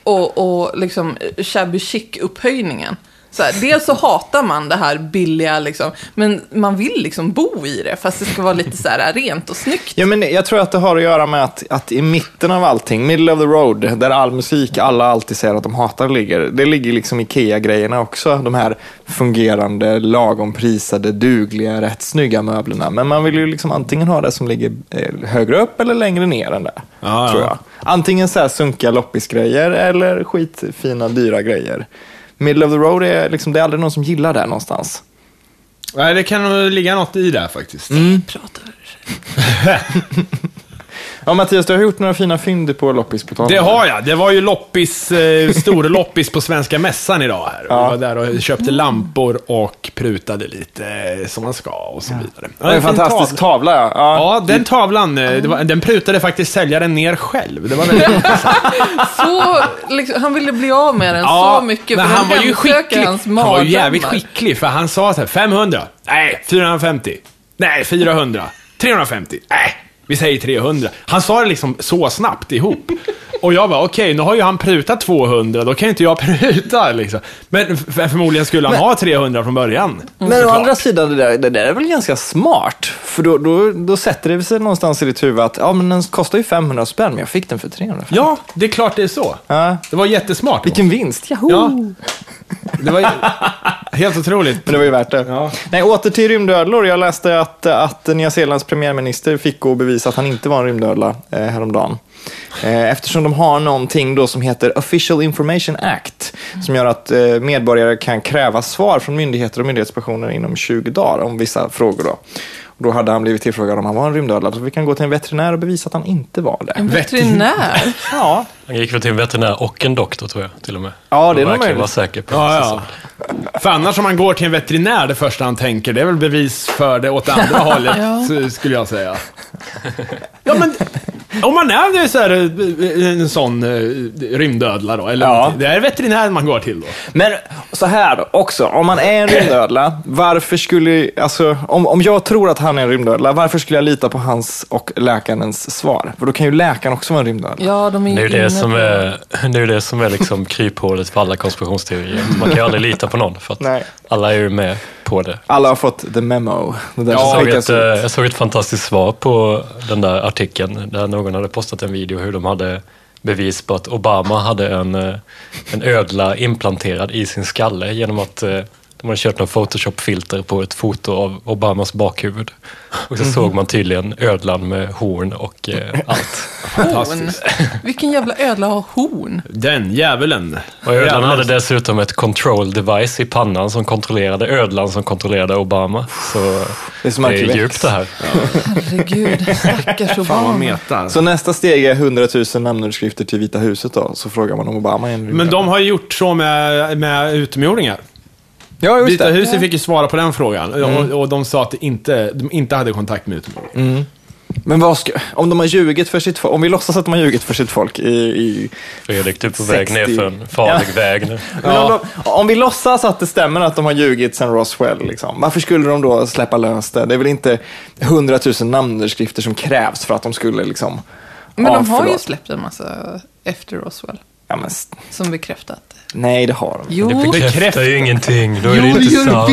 och, och liksom shabby chic-upphöjningen. Så här, dels så hatar man det här billiga, liksom, men man vill liksom bo i det, fast det ska vara lite så här rent och snyggt.
Ja, men jag tror att det har att göra med att, att i mitten av allting, middle of the road, där all musik alla alltid säger att de hatar ligger, det ligger liksom Ikea-grejerna också. De här fungerande, lagom prisade, dugliga, rätt snygga möblerna. Men man vill ju liksom antingen ha det som ligger eh, högre upp eller längre ner än det.
Ja,
tror
ja.
jag. Antingen så här sunkiga loppisgrejer eller skitfina, dyra grejer. Middle of the road är liksom, det är aldrig någon som gillar det någonstans.
Nej, det kan nog ligga något i det här, faktiskt.
Mm.
Prata över sig.
Ja, Mattias, du har gjort några fina fynd på loppispotatis.
Det har jag. Det var ju loppis, eh, stor loppis på Svenska Mässan idag. Här. Vi var där och köpte lampor och prutade lite eh, som man ska och så vidare. Ja,
Det är en fantastisk tavla. ja. ja.
Ja, den tavlan, eh, det var, den prutade faktiskt säljaren ner själv. Det var
[laughs]
väldigt
Så, liksom, han ville bli av med den så mycket,
men
för
han
den
var ju
hemsöker
skicklig.
hans
Han var ju jävligt
mardrömmar.
skicklig, för han sa så här, 500. Nej, 450. Nej, 400. 350. Nej, vi säger 300. Han sa det liksom så snabbt ihop. Och jag bara, okej, nu har ju han prutat 200, då kan ju inte jag [laughs] pruta liksom. Men f- förmodligen skulle han ha 300 från början.
Men å
Mm. såklart.
andra sidan, det där, det där är väl ganska smart? För då, då, då sätter det sig någonstans i ditt huvud att ja, men den kostar ju 500 spänn, men jag fick den för 300.
Ja, det är klart det är så.
Ja.
Det var jättesmart.
Vilken vinst, Yahoo!
Ja. Det var ju- helt otroligt.
Men det var ju värt det.
Ja.
Nej, åter till rymdödlor. Jag läste att, att Nya Zeelands premiärminister fick gå och bevisa att han inte var en rymdödla eh, häromdagen. Eh, eftersom de har någonting då som heter Official Information Act som gör att eh, medborgare kan kräva svar från myndigheter och myndighetspersoner inom 20 dagar om vissa frågor. Då, och då hade han blivit tillfrågad om han var en rymdödla så vi kan gå till en veterinär och bevisa att han inte var det.
En veterinär.
Ja,
Han gick väl till en veterinär och en doktor tror jag till och med.
Ja, det är nog
verkligen
möjligt.
var säker på.
Ja, ja. Alltså, För annars om man går till en veterinär, det första han tänker, det är väl bevis för det åt andra hållet,
Ja.
s- skulle jag säga. Ja, men om man är nu så här, eh, en sån eh, rymdödla då, eller
Ja.
någonting, det är veterinären man går till då.
Men så här då, också, om man är en rymdödla, varför skulle, alltså, om, om jag tror att han är en rymdödla, varför skulle jag lita på hans och läkarens svar? För då kan ju läkaren också vara en rymdödla.
Ja, de är ju
Det är ju
inne
det som
på-
är, det är, det som är liksom kryphålet för alla konspirationsteorier. Man kan ju aldrig lita på någon för att
Nej.
alla är ju med på det.
Alla har fått the memo. Det där
Jag
som
såg,
skickas
ett,
ut.
eh, jag såg ett fantastiskt svar på den där artikeln där någon hade postat en video hur de hade bevis på att Obama hade en, eh, en ödla implanterad i sin skalle genom att eh, de hade kört någon Photoshop-filter på ett foto av Obamas bakhuvud. Och så såg man tydligen ödlan med horn och eh, allt.
Horn. Vilken jävla ödla har horn?
Den djävulen.
Och ödlan
Djävulen.
hade dessutom ett control device i pannan som kontrollerade ödlan som kontrollerade Obama. Så
Det är som
det är
Arkivex.
djupt det här.
[laughs]
Herregud, stackars
Fan vad
Obama.
meta.
Så nästa steg är 100 000 namnunderskrifter till Vita huset då, så frågar man om Obama är en rymdödla.
Men de har ju gjort så med, med utomjordingar.
Ja, just
Vita
det.
huset fick ju svara på den frågan och, och de sa att det inte, de inte hade kontakt med utomjordingar.
Men vad ska, om de har ljugit för sitt folk, om vi låtsas att de har ljugit för sitt folk i... i
Fredrik, du är på väg
60.
ner för en farlig
[laughs]
väg nu.
men om, de, om vi låtsas att det stämmer att de har ljugit sen Roswell, liksom, varför skulle de då släppa lös det? Det är väl inte hundratusen namnunderskrifter som krävs för att de skulle liksom...
Men
ja,
de har ju
förlåt.
släppt en massa efter Roswell
Ja, men, s-
som bekräftat.
nej, det har de.
Jo,
Det bekräftar ju ingenting. Då är det inte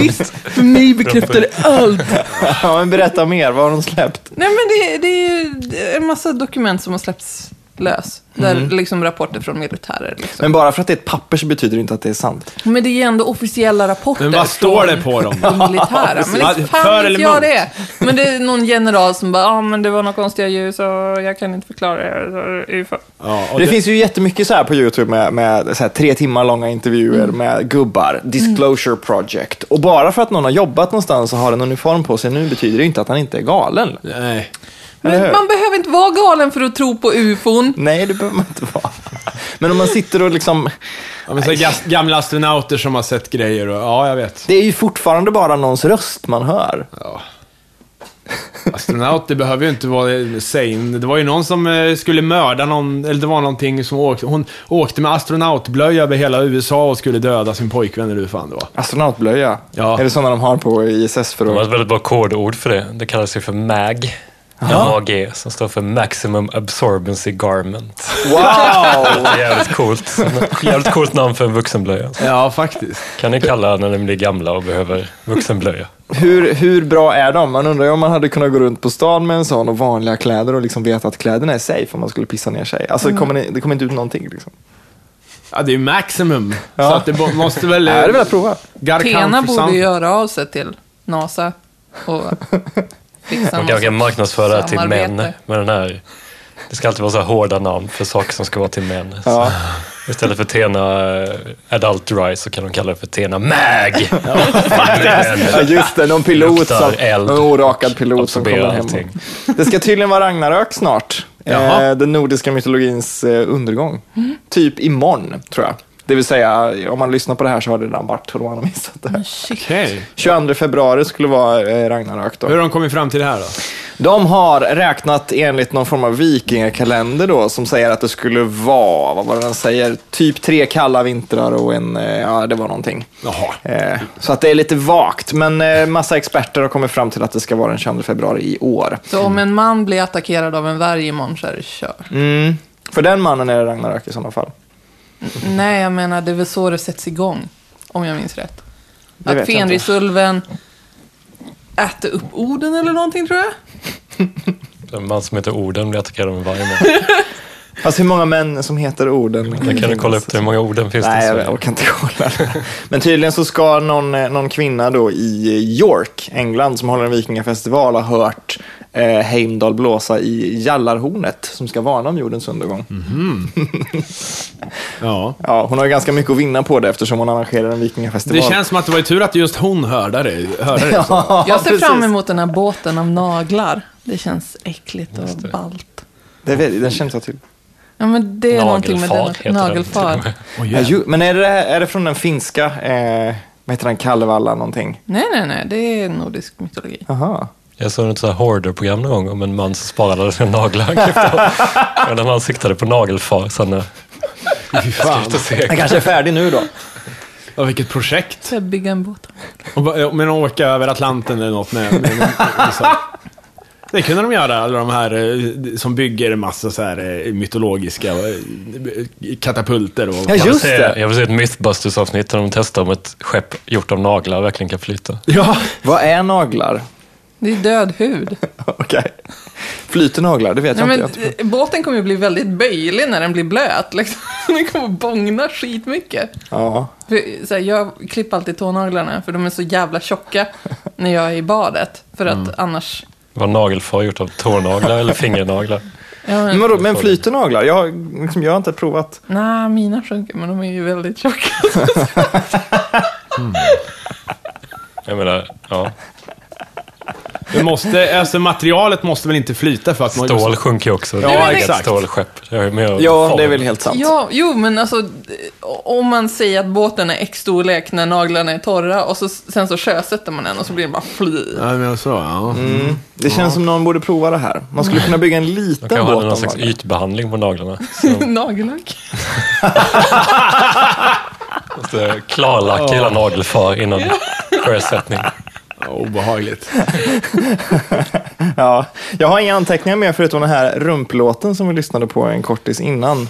sant.
För mig bekräftar det allt.
[laughs] Ja, men berätta mer, vad har de släppt?
Nej, men det, det är ju en massa dokument som har släppts lös. Där
Mm.
liksom rapporter från militärer. Liksom.
Men bara för att det är ett papper så betyder det inte att det är sant.
Men, det är ändå officiella rapporter.
Men vad står det på dem?
från de militära. Men
Ja,
liksom, fan
för
vet
eller
jag
emot?
det. Men det är någon general som bara, ja ah, men det var några konstiga ljus och jag kan inte förklara det. Så det. är ju för-"
Ja, och
Det, finns ju jättemycket så här på YouTube med, med så här tre timmar långa intervjuer
Mm.
med gubbar. Disclosure Project. Och bara för att någon har jobbat någonstans och har en uniform på sig nu betyder det ju inte att han inte är galen.
Nej.
Eller hur?
Men man behöver inte vara galen för att tro på ufon.
Nej, det behöver man inte vara. Men om man sitter och liksom...
Ja, men så här gas- gamla astronauter som har sett grejer och ja, jag vet.
Det är ju fortfarande bara någons röst man hör.
Ja. Astronaut, det behöver ju inte vara sane. Det var ju någon som eh, skulle mörda någon, eller det var någonting som åkte, hon åkte med astronautblöja över hela USA och skulle döda sin pojkvän eller hur fan det var.
Astronautblöja.
Ja.
Är det sådana de har på ISS för
De har
att...
ett väldigt bra kodord för det. Det kallas ju för MAG. MAG, som står för Maximum Absorbency Garment.
Wow!
[laughs] Det är
[laughs]
jävligt coolt. Jävligt coolt namn för en vuxenblöja.
Ja, faktiskt.
Kan ni kalla när ni blir gamla och behöver vuxenblöja.
Hur, hur bra är de? Man undrar ju om man hade kunnat gå runt på stan med en sån och vanliga kläder och liksom veta att kläderna är safe om man skulle pissa ner sig. Alltså det kommer, ni- det kommer inte ut någonting liksom.
Ja, det är ju maximum.
Ja.
Så att det bo- måste väl... eh,
Jag hade velat prova.
Garkant
Tena
för
borde
sant.
ju göra av sig till NASA
[laughs]
och fixa
Man
någon
kanske kan
sorts
marknadsföra det till män
samarbete.
med den här. Det ska alltid vara så här hårda namn för saker som ska vara till män. Så
Ja.
istället för Tena eh, Adult Rise så kan de kalla det för Tena MAG. [laughs]
Ja, just det, någon pilot
Luktar
som,
eld.
någon orakad pilot som
Absorberar
kommer hem.
allting.
Det ska tydligen vara Ragnarök snart.
Jaha.
Eh, den nordiska mytologins eh, undergång. Typ imorgon, tror jag. Det vill säga, om man lyssnar på det här så har det redan varit, tror man har missat det. här.
Okej.
22 februari skulle vara eh, Ragnarök då.
Hur har de kommit fram till det här då?
De har räknat enligt någon form av vikingakalender då som säger att det skulle vara, vad var det den säger, typ tre kalla vintrar och en, eh, ja det var någonting.
Jaha.
Eh, Så att det är lite vagt, men eh, massa experter har kommit fram till att det ska vara den 22 februari i år.
Så om en man blir attackerad av en varg imorgon så är det kör.
Mm. För den mannen är det Ragnarök i sådana fall.
Nej, jag menar det är väl så det sätts igång. Om jag minns rätt.
vet jag
Att
inte.
Fenrisulven äter upp orden eller någonting tror jag.
En man som heter Orden blir attackerad av en varg.
Alltså hur många män som heter orden?
Där kan du kolla upp det. Hur många orden finns
Nej,
det i Sverige?
jag orkar inte kolla. Men tydligen så ska någon, eh, någon kvinna då i York, England, som håller en vikingafestival ha hört eh, Heimdall blåsa i Jallarhornet som ska varna om jordens undergång.
Mm.
Ja.
Ja, hon har ju ganska mycket att vinna på det eftersom hon arrangerar en
Det
vikingafestival.
känns som att det var ju tur att just hon hörde det. Hörde det så.
[laughs] Ja,
jag ser
precis.
fram emot den här båten av naglar. Det känns äckligt och ballt.
Det är väldigt, den känns jag till.
Ja, men det är någonting med
Nagelfar heter den till och
den.
[laughs]
Nagelfar.
med.
Åh,
Ja,
jävlar.
ju, men är det, är det från den finska, eh, vad heter den, Kalevala någonting?
Nej, nej, nej. Det är nordisk mytologi.
Aha.
Jag såg ett sånt här hoarder-program någon gång om en man som sparade sina naglar [laughs] han klippte av. Eller han siktade på nagelfar. Sen eh,
Fy fan. [laughs]
efter seg.
Den kanske är färdig nu då.
Ja, vilket projekt.
Så jag bygger en båt.
Och ba- ja, Men åka över Atlanten eller något med... med, med, så. Det kunde de göra, alla de här eh, som bygger massa så här eh, mytologiska eh, katapulter och...
Ja,
Jag vill
just
se-
det.
Jag vill se ett Mythbusters-avsnitt där de testar om ett skepp gjort av naglar verkligen kan flyta.
Ja.
Vad är naglar?
Det är död hud.
[laughs] Okej. Flyter naglar, det vet
Nej,
jag
men,
inte. Jag tror-
eh, båten kommer ju bli väldigt böjlig när den blir blöt. Liksom. [laughs] Den kommer bångna skitmycket.
Ja.
För, så här, jag klipper alltid tånaglarna för de är så jävla tjocka när jag är i badet. För att
Mm.
annars...
Var nagelfar gjort av tånaglar eller fingernaglar?
Ja, men,
Men, vadå, men flyter naglar? Jag, har- liksom, jag har inte provat.
nej, mina sjunker, men de är ju
[laughs]
väldigt tjocka.
Jag menar, ja.
Det måste, alltså materialet måste väl inte flyta för att man...
Stål sjunker ju också.
Ja,
Det är
exakt.
ett Stålskepp. Det har ju med att-
Ja, det är
form.
väl helt sant.
Ja, jo, men alltså d- om man säger att båten är X-storlek när naglarna är torra och så, sen så sjösätter man den och så blir den bara fly.
Ja, men så, ja.
Det känns som någon borde prova det här. Man skulle kunna bygga en liten
Jag
båt.
hade någon
om
slags
man-
ytbehandling på naglarna.
Alltså.
Så
[laughs] Nagellack.
måste klarlacka eh, hela nagelfar innan sjösättning.
Ja, Obehagligt.
Ja, jag har inga anteckningar mer förutom den här rumplåten som vi lyssnade på en kortis innan.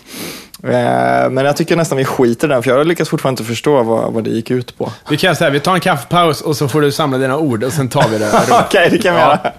Eh, Men jag tycker nästan vi skiter i den, för jag lyckas fortfarande inte förstå vad, vad det gick ut på.
Vi kan göra så här, vi tar en kaffepaus och så får du samla dina ord och sen tar vi det.
[laughs] [laughs] Okej, det kan vi
Ja.
göra.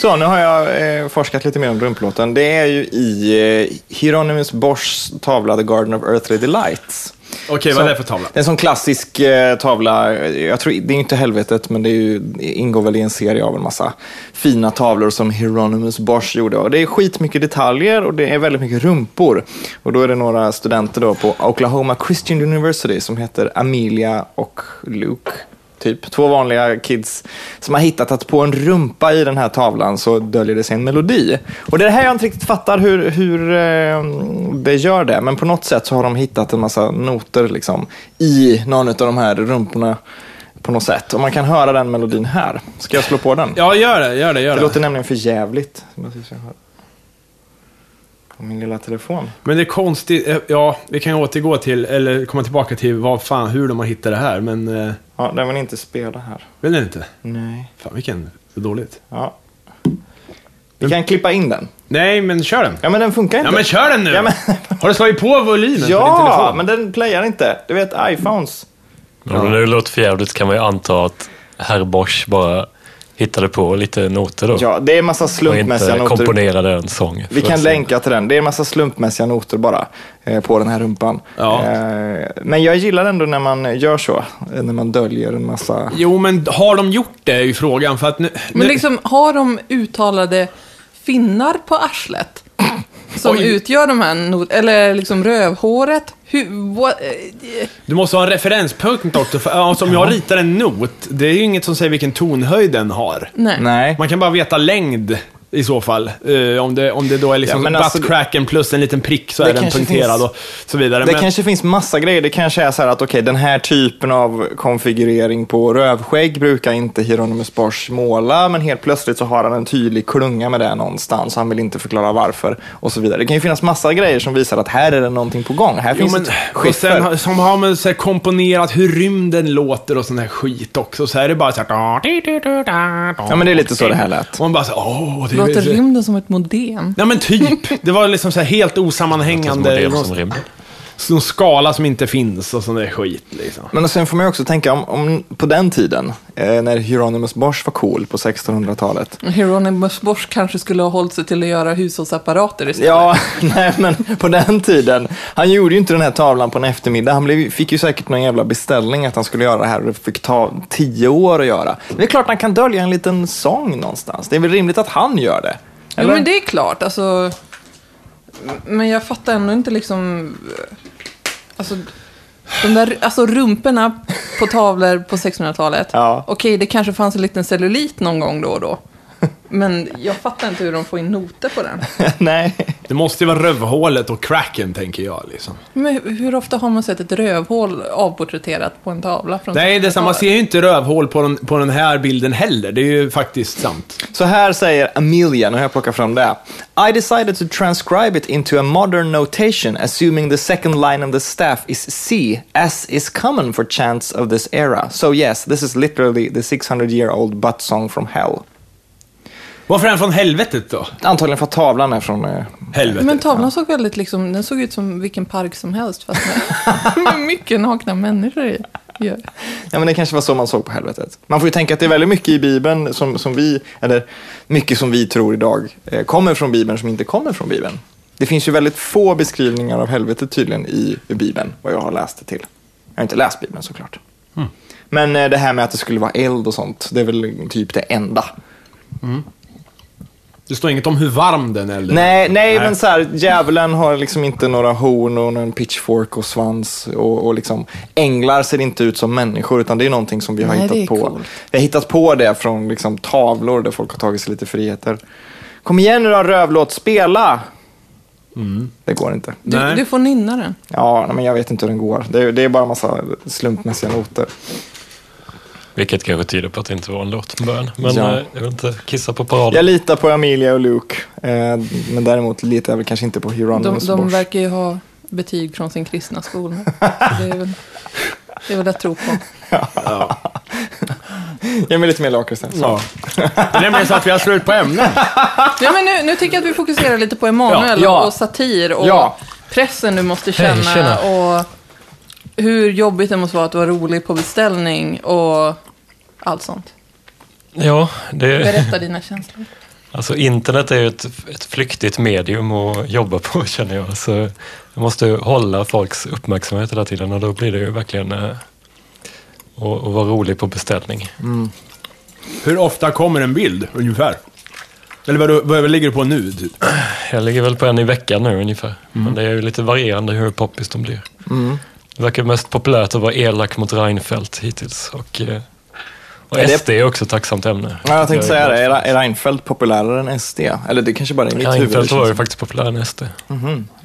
Så, nu har jag eh, forskat lite mer om rumplåten. Det är ju i eh, Hieronymus Boschs tavla The Garden of Earthly Delights.
Okej, vad är det för tavla?
Det är en sån klassisk eh, tavla. Jag tror, det är inte helvetet, men det är ju, ingår väl i en serie av en massa fina tavlor som Hieronymus Bosch gjorde. Och det är skitmycket detaljer och det är väldigt mycket rumpor. Och då är det några studenter då på Oklahoma Christian University som heter Amelia och Luke. Typ två vanliga kids som har hittat att på en rumpa i den här tavlan så döljer det sig en melodi. Och det är det här jag inte riktigt fattar hur, hur eh, det gör det. Men på något sätt så har de hittat en massa noter liksom, i någon av de här rumporna på något sätt. Och man kan höra den melodin här. Ska jag slå på den?
Ja, gör det, gör det, gör
Det
det.
låter nämligen för jävligt. Jag ska se här. På min lilla telefon.
Men det är konstigt, eh, ja, vi kan återgå till, eller komma tillbaka till vad fan, hur de har hittat det här, men... Eh,
Ja, den vill inte spela här.
vill ni inte?
Nej.
Fan, vilken... Så dåligt.
Ja. Vi kan klippa in den.
Nej, men kör den.
Ja, men den funkar inte.
Ja, men kör den nu!
Ja, men-
Har du slagit på volymen på din
Ja,
telefon?
men den playar inte. Du vet, iPhones.
Men om det nu låter för jävligt kan man ju anta att herr Bosch bara hittade på lite noter då.
Ja, det är en massa
och
slumpmässiga
inte
noter.
komponerade en sång.
Vi
för
kan
att-
länka till den. Det är en massa slumpmässiga noter bara eh, på den här rumpan.
Ja.
Eh, men jag gillar ändå när man gör så. eh, När man döljer en massa...
Jo, men har de gjort det är ju frågan, för att nu... nu
Men liksom, har de uttalade finnar på arslet? Som
Oj.
utgör de här not- eller liksom rövhåret? Hur, what, eh,
Du måste ha en referenspunkt också, för alltså, om jag ritar en not, det är ju inget som säger vilken tonhöjd den har.
nej.
Nej.
Man kan bara veta längd i så fall. Eh, om, det, om det då är
Ja,
liksom
men alltså-
buttcracken plus en liten prick så
Det
är den
kanske
punkterad
finns-
och så vidare.
Det
men,
kanske finns massa grejer. Det kanske är så här att okej, den här typen av konfigurering på rövskägg brukar inte Hieronymus Bosch måla, men helt plötsligt så har han en tydlig klunga med det någonstans. Han vill inte förklara varför och så vidare. Det kan ju finnas massa grejer som visar att här är det någonting på gång. Här
jo,
finns
men,
ett
och sen
skiffer.
har- som har man så här komponerat hur rymden låter och sån där skit också. Så här är det bara så här...
Ja, men det är lite så det här lät.
Och man bara så här, åh, det är
Låter rymden som ett modem?
Nej men typ. Det var liksom så här helt
Det är som
osammanhängande.
modem
Någon,
som rymmer.
någon skala som inte finns och sån där skit liksom.
Men och sen får man ju också tänka om, om på den tiden, eh, när Hieronymus Bosch var cool på 1600-talet.
Hieronymus Bosch kanske skulle ha hållit sig till att göra hushållsapparater istället.
Ja, [laughs] nej men på den tiden. Han gjorde ju inte den här tavlan på en eftermiddag. Han blev, fick ju säkert någon jävla beställning att han skulle göra det här och det fick ta tio år att göra. Det är klart han kan dölja en liten sång någonstans. Det är väl rimligt att han gör det? [laughs]
Jo, men det är klart. Alltså, men jag fattar ändå inte liksom... Alltså, de där alltså, rumporna på tavlor på 1600-talet.
Ja.
Okej, det kanske fanns en liten cellulit någon gång då och då. Men jag fattar inte hur de får in noter på
[laughs]
den.
nej.
Det måste ju vara rövhålet och cracken, tänker jag. Liksom.
Men hur- hur ofta har man sett ett rövhål avporträtterat på en tavla? Från
Nej, det är
1600-talet?
samma. Man ser ju inte rövhål på den, på den här bilden heller. Det är ju faktiskt sant.
Så här säger Amelia, nu har jag plockat fram det. I decided to transcribe it into a modern notation assuming the second line of the staff is C, as is common for chants of this era. So yes, this is literally the 600 year old butt song from hell.
Varför är den från helvetet då?
Antagligen för att tavlan är från... eh,
Helvetet.
Men tavlan såg väldigt liksom, den såg ut som vilken park som helst fast med, [laughs] med mycket nakna människor i. Ja.
Ja, men det kanske var så man såg på helvetet. Man får ju tänka att det är väldigt mycket i Bibeln som, som vi, eller mycket som vi tror idag, eh, kommer från Bibeln som inte kommer från Bibeln. Det finns ju väldigt få beskrivningar av helvetet tydligen i Bibeln, vad jag har läst det till. Jag har inte läst Bibeln såklart. Men eh, det här med att det skulle vara eld och sånt, det är väl typ det enda.
Det står inget om hur varm den är. eller-
Nej, nej, men så här, djävulen har liksom inte några horn och en pitchfork och svans. Och, och liksom, änglar ser inte ut som människor, utan det är någonting som vi har
Nej, det är
hittat på.
coolt.
Vi har hittat på det från liksom, tavlor där folk har tagit sig lite friheter. Kom igen nu då, rövlåt, spela! Det går inte.
Du,
Nej.
du får nynna den.
Ja, nej, men jag vet inte hur den går. Det är, det är bara en massa slumpmässiga noter.
Vilket kanske tyder på att det inte var en låt från början. Men
Ja.
eh, jag vill inte kissa på paraden.
Jag litar på Amelia och Luke, eh, men däremot litar jag väl kanske inte på
De,
Hieronymus
de
Bosch.
verkar ju ha betyg från sin kristna [laughs] skola. Det är väl, det är väl att tro på.
Ge mig lite mer lakrits sen.
Ja. Det är nämligen så att vi har slut på ämnen.
Ja, men nu, nu tycker jag att vi fokuserar lite på Emanuel
Ja, ja.
och satir och
Ja.
pressen du måste känna
Hej, tjena.
och hur jobbigt det måste vara att vara rolig på beställning och allt sånt.
Ja, det,
Berätta dina känslor.
alltså internet är ju ett, ett flyktigt medium att jobba på [laughs] känner jag. Så jag måste ju hålla folks uppmärksamhet hela tiden och då blir det ju verkligen eh, att att vara rolig på beställning.
Hur ofta kommer en bild, ungefär? Eller vad, du, vad ligger du på nu? Typ?
Jag ligger väl på en i veckan nu ungefär.
Mm.
Men det är ju lite varierande hur poppis de blir. Det verkar mest populärt att vara elak mot Reinfeldt hittills. Och, eh, och
Är det-
SD är också ett tacksamt ämne.
Ja, jag tänkte
Jag är
säga det. Är är Reinfeldt populärare än SD? Eller det kanske bara är i mitt huvud. det
Reinfeldt var ju
känns som.
faktiskt populär än SD.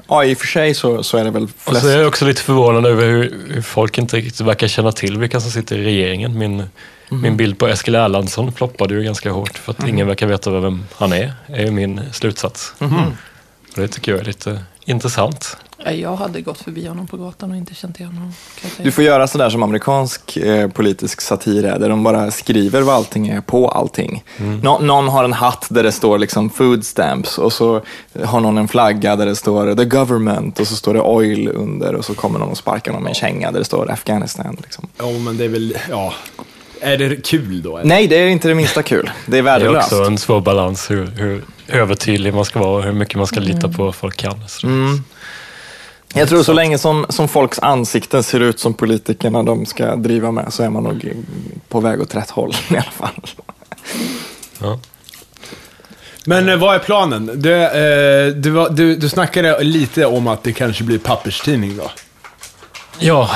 Ja, i och för sig så, så är det väl
Och
flest.
så är jag också lite förvånad över hur, hur folk inte riktigt verkar känna till vilka som sitter i regeringen. Min, min bild på Eskil Erlandsson floppade ju ganska hårt för att ingen verkar veta vem han är, är ju min slutsats. Och det tycker jag är lite intressant.
Ja, Jag hade gått förbi honom på gatan och inte känt igen honom. kan jag säga.
Du får göra sådär som amerikansk eh, politisk satir är, där de bara skriver vad allting är på allting.
Mm.
Nå- någon har en hatt där det står liksom food stamps och så har någon en flagga där det står the government och så står det oil under och så kommer någon och sparkar någon med en känga där det står Afghanistan. Liksom.
Ja, men det är väl... Ja. Är det kul då? eller?
Nej, det är inte det minsta kul. Det är
Det är
värdelöst.
också en svår balans hur, hur övertydlig man ska vara och hur mycket man ska lita på vad folk kan. Så det-
Jag tror så länge som, som folks ansikten ser ut som politikerna de ska driva med så är man nog på väg åt rätt håll i alla fall.
Ja.
Men eh, vad är planen? Du, eh, du, var- du, du snackade lite om att det kanske blir papperstidning då.
Ja,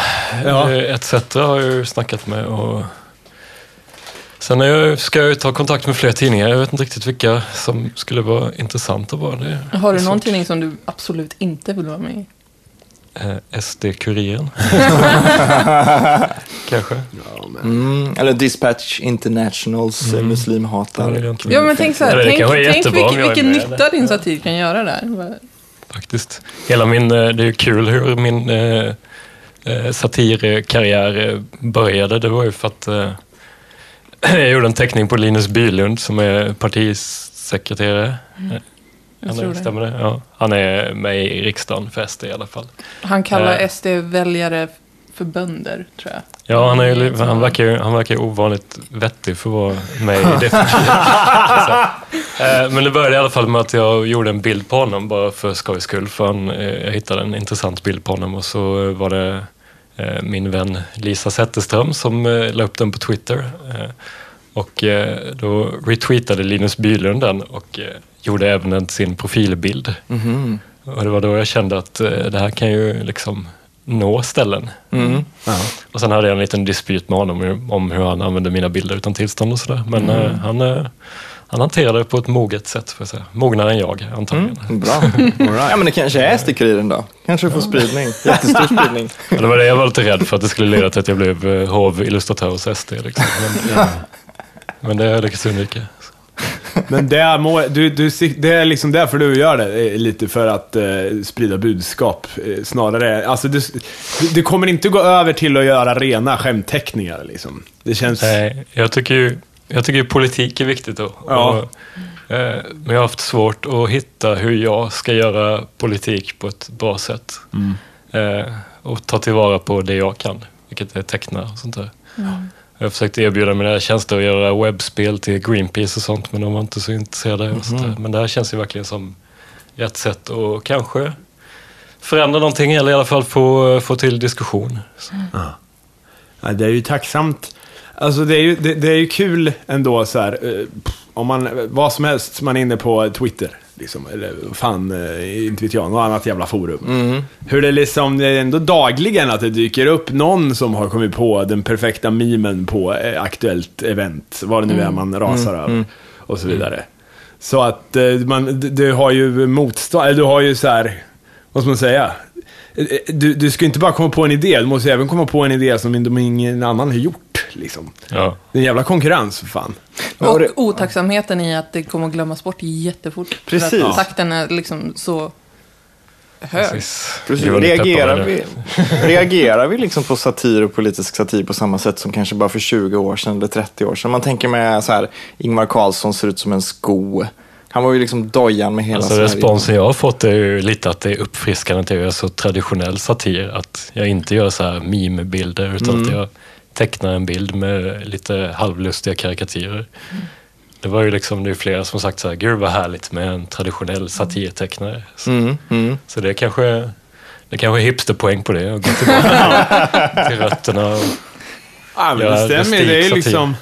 Ja.
eh, etc har jag ju snackat med. Och... Sen är jag, ska jag ju ta kontakt med fler tidningar. Jag vet inte riktigt vilka som skulle vara intressanta bara. Det är
Har du någon
svårt. Mm,
tidning som du absolut inte vill vara med i?
Eh,
[laughs]
SD-Kuriren. Kanske.
Mm, eller Dispatch Internationals mm.
Ja, det är
muslimhatare.
inte-
Ja, men tänk så här,
Eller det
tänk,
kanske är
tänk
jättebra om
vilken,
jag är
vilken
med,
nytta din satir kan göra där.
Faktiskt. Hela min, eh, det är ju kul hur min eh, eh, satirkarriär eh, började. Det var ju för att eh, [clears throat] jag gjorde en teckning på Linus Bylund som är partisekreterare.
Mm. Jag
Han
tror
är,
det.
stämmer det? Ja. Han är med i riksdagen för SD i alla fall.
Han kallar
Eh.
SD-väljare för bönder, tror jag.
Ja, han, är, ju li- han, verkar, ju- han verkar ju ovanligt vettig för att vara med i det partiet. Så, eh, Men det började i alla fall med att jag gjorde en bild på honom bara för skojs skull. För han, eh, jag hittade en intressant bild på honom och så eh, var det eh, min vän Lisa Zetterström som eh, la upp den på Twitter. Eh, Och eh, då retweetade Linus Bylund den och eh, gjorde även en sin profilbild. Och det var då jag kände att eh, det här kan ju liksom nå ställen. Och sen hade jag en liten dispyt med honom hur- om hur han använde mina bilder utan tillstånd och sådär. Men eh, han, eh, han hanterade det på ett moget sätt, får jag säga. mognare än jag antagligen. [laughs]
Bra. Ja, men det kanske är SD-Kuriren då. Kanske får spridning. Jättestor spridning.
Men Det var det jag var lite rädd för, att det skulle leda till att jag blev eh, hovillustratör hos SD. Liksom. Men, eh, men det har jag lyckats undvika.
Men det är, må, du, du, sik- det är liksom därför du gör det, eh, lite för att eh, sprida budskap eh, snarare. Alltså, du, du- du kommer inte gå över till att göra rena skämtteckningar liksom. Det känns...
Nej, jag tycker ju, jag tycker ju politik är viktigt då.
Ja.
Och, eh, men jag har haft svårt att hitta hur jag ska göra politik på ett bra sätt.
Mm.
Eh, och ta tillvara på det jag kan, vilket är teckna och sånt där. Jag har försökt erbjuda mina tjänster att göra webbspel till Greenpeace och sånt, men de var inte så intresserade. Och sånt där.
Mm.
Men det här känns ju verkligen som rätt sätt att kanske förändra någonting eller i alla fall få, få till diskussion. Så.
Ja, det är ju tacksamt. Alltså det är ju, det, det är ju kul ändå så här. eh, pff, om man, vad som helst man är inne på Twitter, liksom, eller fan, eh, inte vet jag, något annat jävla forum. Hur det liksom, det är ändå dagligen att det dyker upp någon som har kommit på den perfekta memen på eh, aktuellt event, vad det nu är man rasar över, och så vidare. Så att eh, man, du, du har ju motstånd, eller du har ju så här, vad ska man säga? Eh, eh, Du, du ska ju inte bara komma på en idé, du måste ju även komma på en idé som in- ingen annan har gjort. Liksom.
Ja.
Det är en jävla konkurrens för fan.
Ja,
Och
det-
otacksamheten i att det kommer att glömmas bort jättefort.
Precis.
För att takten är liksom så hög.
Precis.
Precis.
Det var lite
Reagerar
peppande.
vi, [laughs] reagerar vi liksom på satir och politisk satir på samma sätt som kanske bara för 20 år sedan eller 30 år sedan? Man tänker med så här, Ingvar Carlsson ser ut som en sko. Han var ju liksom dojan med hela
Alltså
Sverige.
responsen jag har fått är ju lite att det är uppfriskande att jag gör så traditionell satir. Att jag inte gör så här meme-bilder utan att
Mm.
jag tecknar en bild med lite halvlustiga karikatyrer.
Mm.
Det var ju liksom, det är flera som sagt så här, gud vad härligt med en traditionell satirtecknare. Så,
Mm, mm.
så det kanske, det kanske är hipsterpoäng på det och gå tillbaka
[laughs]
till rötterna. Och,
Ja, men
Ja,
det stämmer ju. Det är ju
rustiksatir.
liksom...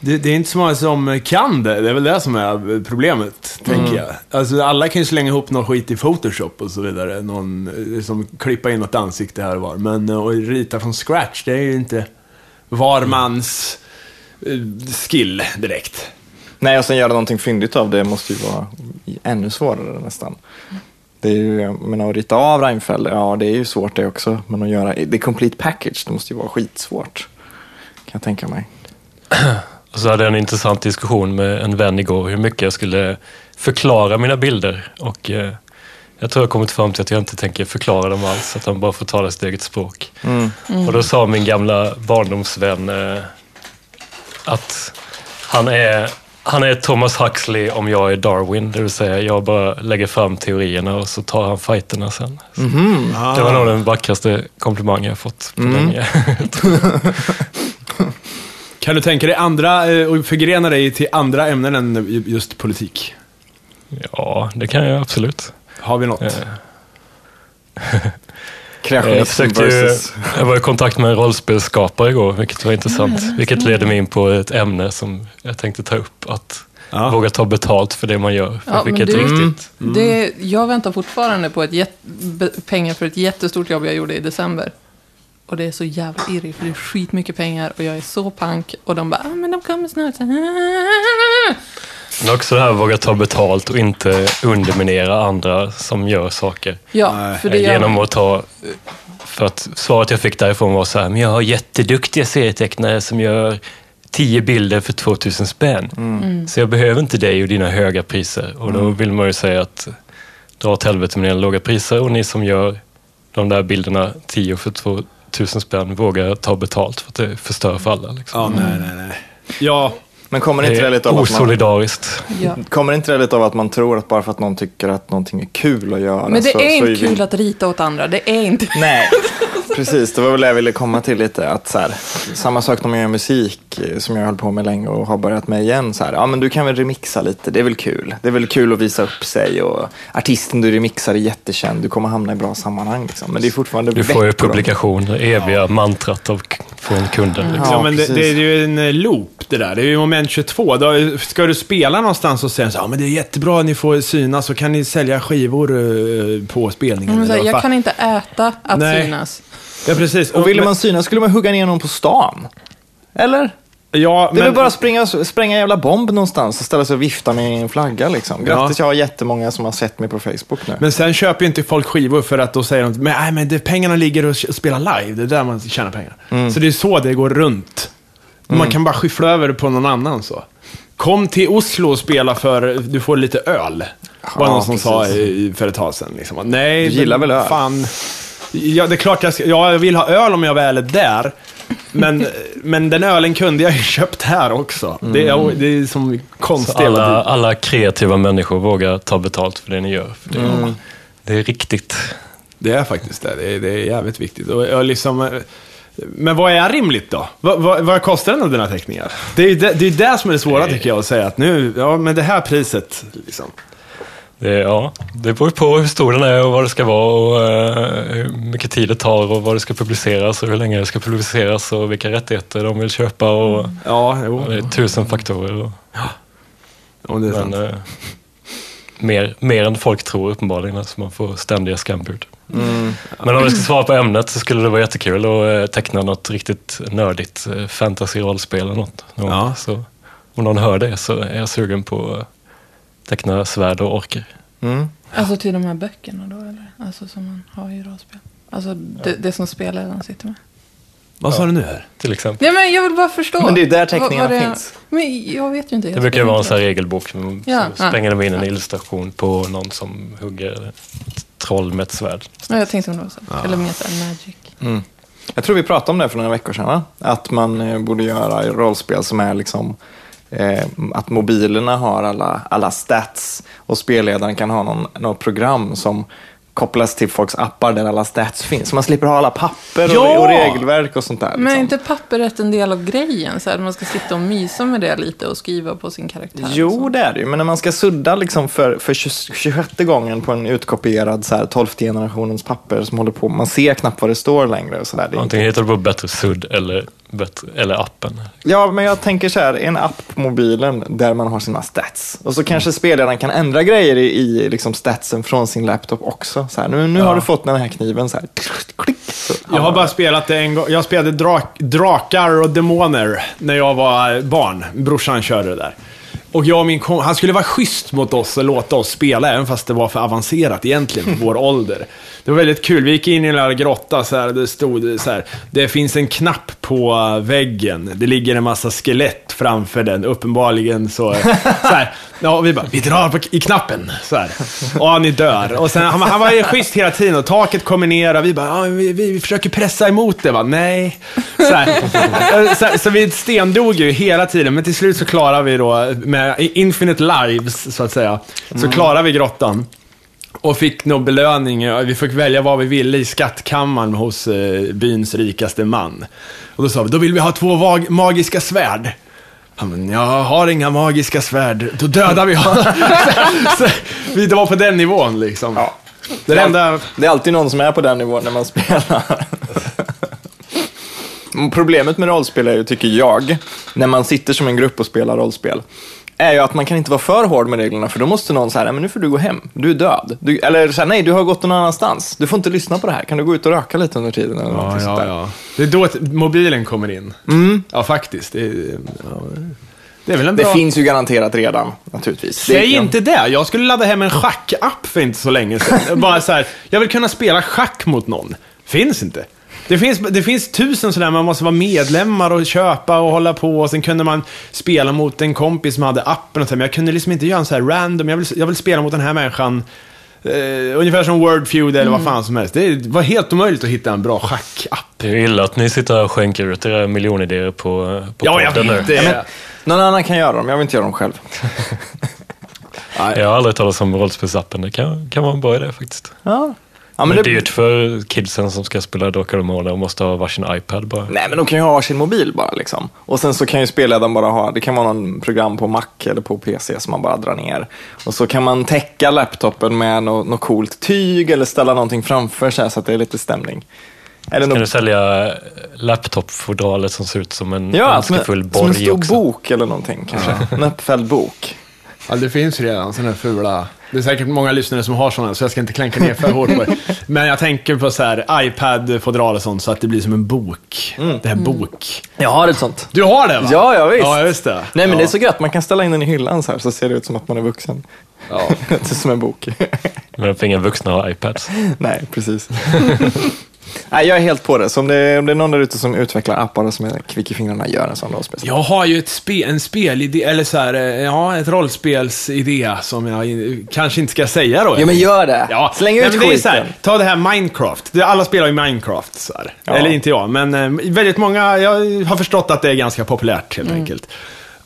Det, det är inte så många som eh, kan det. Det är väl det som är eh, problemet, tänker jag. Alltså, alla kan ju slänga ihop någon skit i Photoshop och så vidare. Någon eh, som klippa in något ansikte här och var. Men eh, att rita från scratch, det är ju inte var mans eh, skill direkt.
Nej, och sen göra någonting fyndigt av det måste ju vara ännu svårare nästan. Det är ju, jag menar, att rita av Reinfeldt, ja det är ju svårt det också. Men att göra the complete package, det måste ju vara skitsvårt. Kan jag tänka mig.
och så hade jag en intressant diskussion med en vän igår hur mycket jag skulle förklara mina bilder. Och eh, jag tror jag kommit fram till att jag inte tänker förklara dem alls, att de bara får tala sitt eget språk. Och då sa min gamla barndomsvän eh, att han är, han är Thomas Huxley om jag är Darwin, det vill säga jag bara lägger fram teorierna och så tar han fighterna sen. Så Det var nog den vackraste komplimang jag fått på länge. [laughs]
Kan du tänka dig andra, eh, och förgrena dig till andra ämnen än just politik?
Ja, det kan jag absolut.
Har vi något?
Eh, Jag,
Kreationism
försökte ju,
Eh, versus...
jag var i kontakt med en rollspelsskapare igår, vilket var intressant. Vilket leder mig in på ett ämne som jag tänkte ta upp. Att
Ja.
våga ta betalt för det man gör. För
Ja, men
vilket
du- Mm.
riktigt. Mm.
Det, jag väntar fortfarande på ett jätt, be- pengar för ett jättestort jobb jag gjorde i december. Och det är så jävla irrigt för det är skitmycket pengar och jag är så pank. Och de bara, ah, men de kommer snart. Så här.
Men också det här att våga ta betalt och inte underminera andra som gör saker.
Ja,
Nej,
för det gör
eh, Genom att ta... För att svaret jag fick därifrån var så här, men jag har jätteduktiga serietecknare som gör tio bilder för 2000 spänn.
Mm.
Så jag behöver inte dig och dina höga priser. Och då vill man ju säga att dra åt helvete med dina låga priser och ni som gör de där bilderna tio för 2000 spänn vågar ta betalt för att det förstör för alla. Liksom.
Ja, nej, nej, nej. Ja,
Men kommer det
Det
inte det
är
lite av att man...
osolidariskt.
[laughs]
Ja.
Kommer inte det lite av att man tror att bara för att någon tycker att någonting är kul att göra
Men det
alltså, så,
är
så
inte
vi-
kul att rita åt andra. Det är inte
Nej, [laughs] precis. Det var väl det jag ville komma till lite. Att så här, samma sak när man gör musik eh, som jag höll på med länge och har börjat med igen. Så här, ja, men du kan väl remixa lite, det är väl kul. Det är väl kul att visa upp sig och artisten du remixar är jättekänd, du kommer hamna i bra sammanhang. Liksom. Men det är fortfarande
Du får ju
veckor av-
publikationer, eviga mantrat av, från kunder.
Mm.
Liksom.
Ja,
Ja,
men det,
precis.
det är ju en eh, loop det där. Det är ju moment 22. Då ska du spela någonstans och säga så ja men det är jättebra, ni får synas så kan ni sälja skivor eh, på spelningen.
[laughs]
Mm,
Men så här,
eller vad
jag
fan.
kan inte äta att
Nej.
synas.
Ja, precis.
Och ville man synas skulle man hugga ner någon på stan. Eller?
Ja,
Det är
men...
väl bara att springa, spränga en jävla bomb någonstans och ställa sig och vifta med en flagga. Liksom. Grattis, jag har jättemånga som har sett mig på Facebook nu.
Men sen köper ju inte folk skivor för att då säger de, men, nej, men det, pengarna ligger och spelar live, det är där man tjänar pengar.
Mm.
Så det är så det går runt. Man kan bara skyffla över det på någon annan så. Kom till Oslo och spela för, du får lite öl. Var
Ja,
någon som sa
precis.
i, i- för ett tag sedan. Liksom. Nej,
Du gillar
men
väl öl?
Fan. Ja, det är klart jag, ska, ja, jag vill ha öl om jag väl är där.
[laughs]
Men, men den ölen kunde jag ju köpt här också. Det,
Mm.
är, det är som
Så
konstigt.
alla, alla kreativa människor vågar ta betalt för det ni gör. För det, det är riktigt.
Det är faktiskt det. Det är, det är jävligt viktigt. Och jag liksom, eh, men vad är rimligt då? Vad, vad, vad kostar den av dina teckningar? Det är ju det, det, är det som är det svåra tycker jag, att säga att nu, ja men det här priset liksom.
Det, är- ja, det beror på hur stor den är och vad det ska vara och eh, hur mycket tid det tar och vad det ska publiceras och hur länge det ska publiceras och vilka rättigheter de vill köpa och
Ja,
och det
jo.
är tusen faktorer. Och,
Om det är
Men,
sant.
eh, mer, mer än folk tror uppenbarligen, alltså man får ständiga scambird. Men om jag ska svara på ämnet så skulle det vara jättekul att eh, teckna något riktigt nördigt eh, fantasy-rollspel eller något. någon gång.
Ja.
Så, om någon hör det så är jag sugen på att teckna svärd och orker.
Alltså till de här böckerna då eller? Alltså som man har i rollspel. Alltså det, det som spelaren sitter med.
Vad sa du nu? här?
Till exempel.
Nej men jag vill bara förstå.
Men det är där
Vad- vad
teckningarna
det-
finns.
Men jag vet ju inte. jag
Det brukar ju
spelar
vara en
inte
sån här regelbok.
Ja.
Så slänger de in en illustration på någon som hugger ett troll med ett svärd.
Ja, jag tänkte om det var så. Eller mer så här magic.
Mm, Jag tror vi pratade om det för några veckor sedan, va? Att man eh, borde göra rollspel som är liksom eh, att mobilerna har alla, alla stats och spelledaren kan ha någon, något program som kopplas till folks appar där alla stats finns. Så man slipper ha alla papper och,
Ja!
och regelverk och sånt där.
Men är
liksom.
inte papperet en del av grejen? Så här, man ska sitta och mysa med det lite och skriva på sin karaktär. och
Jo,
så.
det är det ju. Men när man ska sudda liksom för, för 20 26 gången på en utkopierad så här, 12 generationens papper som håller på, man ser knappt vad det står längre och så där. Det är inte-
Antingen hittar du på bättre sudd eller, bättre, eller appen.
Ja, men jag tänker så här, en app på mobilen där man har sina stats. Och så kanske spelaren kan ändra grejer i, i liksom statsen från sin laptop också. Så här, nu nu har du fått den här kniven så här. Klick, så
Jag har bara spelat det en gång. Jag spelade drak, drakar och demoner när jag var barn. Brorsan körde det där. Och jag och min kom- han skulle vara schysst mot oss och låta oss spela, även fast det var för avancerat egentligen för vår ålder. Det var väldigt kul. Vi gick in i en lilla grotta så här, det stod så här. Det finns en knapp på väggen. Det ligger en massa skelett framför den. Uppenbarligen så... så här. Ja, och vi bara, vi drar på, i knappen. Så här. Ja, ni dör. Och sen, han, han var ju schysst hela tiden och taket kommer ner och vi bara, ja, vi, vi, vi försöker pressa emot det. Va? Nej. Så, här. Så, så vi stendog ju hela tiden, men till slut så klarar vi då, med infinite lives så att säga, så klarar vi grottan. Och fick nog belöning, ja, vi fick välja vad vi ville i skattkammaren hos eh, byns rikaste man. Och då sa vi, då vill vi ha två vag- magiska svärd. Han bara, jag har inga magiska svärd, då dödar vi
[laughs]
honom. [laughs] så, så, vi- det var på den nivån liksom.
Ja.
Det är det enda...
Det är alltid någon som är på den nivån när man spelar. Mm, Problemet med rollspel är ju, tycker jag, när man sitter som en grupp och spelar rollspel, är ju att man kan inte vara för hård med reglerna för då måste någon säga, men nu får du gå hem, du är död. Du, eller så här, nej, du har gått någon annanstans, du får inte lyssna på det här, kan du gå ut och röka lite under tiden? Eller någonting sånt där.
Det är då att mobilen kommer in. Ja, faktiskt. Det, är- ja, det är väl en
Mm. Det
bra...
finns ju garanterat redan, naturligtvis.
Säg
Det-
inte det! Jag skulle ladda hem en schackapp för inte så länge [laughs] sedan. Bara så här, jag vill kunna spela schack mot någon. Finns inte. Det finns, det finns tusen sådär, man måste vara medlemmar och köpa och hålla på och sen kunde man spela mot en kompis som hade appen och så, här, men jag kunde liksom inte göra en så här random, jag vill, jag vill spela mot den här människan. Eh, ungefär som Word Feud eller vad fan som helst. Det var helt omöjligt att hitta en bra schackapp.
Det är ju illa att ni sitter här och skänker ut era miljonidéer på, på
Ja, jag
podden
vet
nu.
det.
Ja, men, någon annan kan göra dem, jag vill inte göra dem själv.
Jag har aldrig talat om rollspelsappen. Det kan, kan vara en bra idé faktiskt.
Ja. Ja,
men
men
det är
det-
dyrt för kidsen som ska spela Drakar och Demoner och måste ha varsin iPad bara.
Nej, men de kan ju ha varsin mobil bara liksom. Och sen så kan ju spelledaren bara ha, det kan vara någon program på Mac eller på PC som man bara drar ner. Och så kan man täcka laptopen med något no coolt tyg eller ställa någonting framför sig så att det är lite stämning. Eller
Kan du
något,
sälja laptopfodralet som ser ut som en
ja, som, en-
önskefull
som en
borg
stor
också?
bok eller någonting kanske. En uppfälld bok.
Ja, det finns redan sådana här fula. Det är säkert många lyssnare som har sådana, så jag ska inte klänka ner för hårt på det. Men jag tänker på så här, iPad-fodral och sånt, så att det blir som en bok. Det här bok.
Jag har ett sånt.
Du har det va?
Mm. Ja, ja visst.
Ja, just det.
Nej, men
ja.
det är så gött. Man kan ställa in den i hyllan så här så ser det ut som att man är vuxen. [laughs]
Ja.
Inte som en bok.
Men för inga vuxna har iPads.
Nej,
[laughs]
precis. Nej, jag är helt på det. Så om det, om det är någon där ute som utvecklar appar och som är kvick i fingrarna, gör en sån rollspel.
Jag har ju ett spe, en spelidé, eller så här, eh, ja, ett rollspelsidé som jag in- kanske inte ska säga då.
Ja, men gör det.
Ja.
Släng ut
Nej, men det är
skiten.
så här, Ta det här Minecraft. Det- Alla spelar ju Minecraft. Så här.
Ja.
Eller inte jag, men eh, väldigt många, jag har förstått att det är ganska populärt helt
Mm.
enkelt.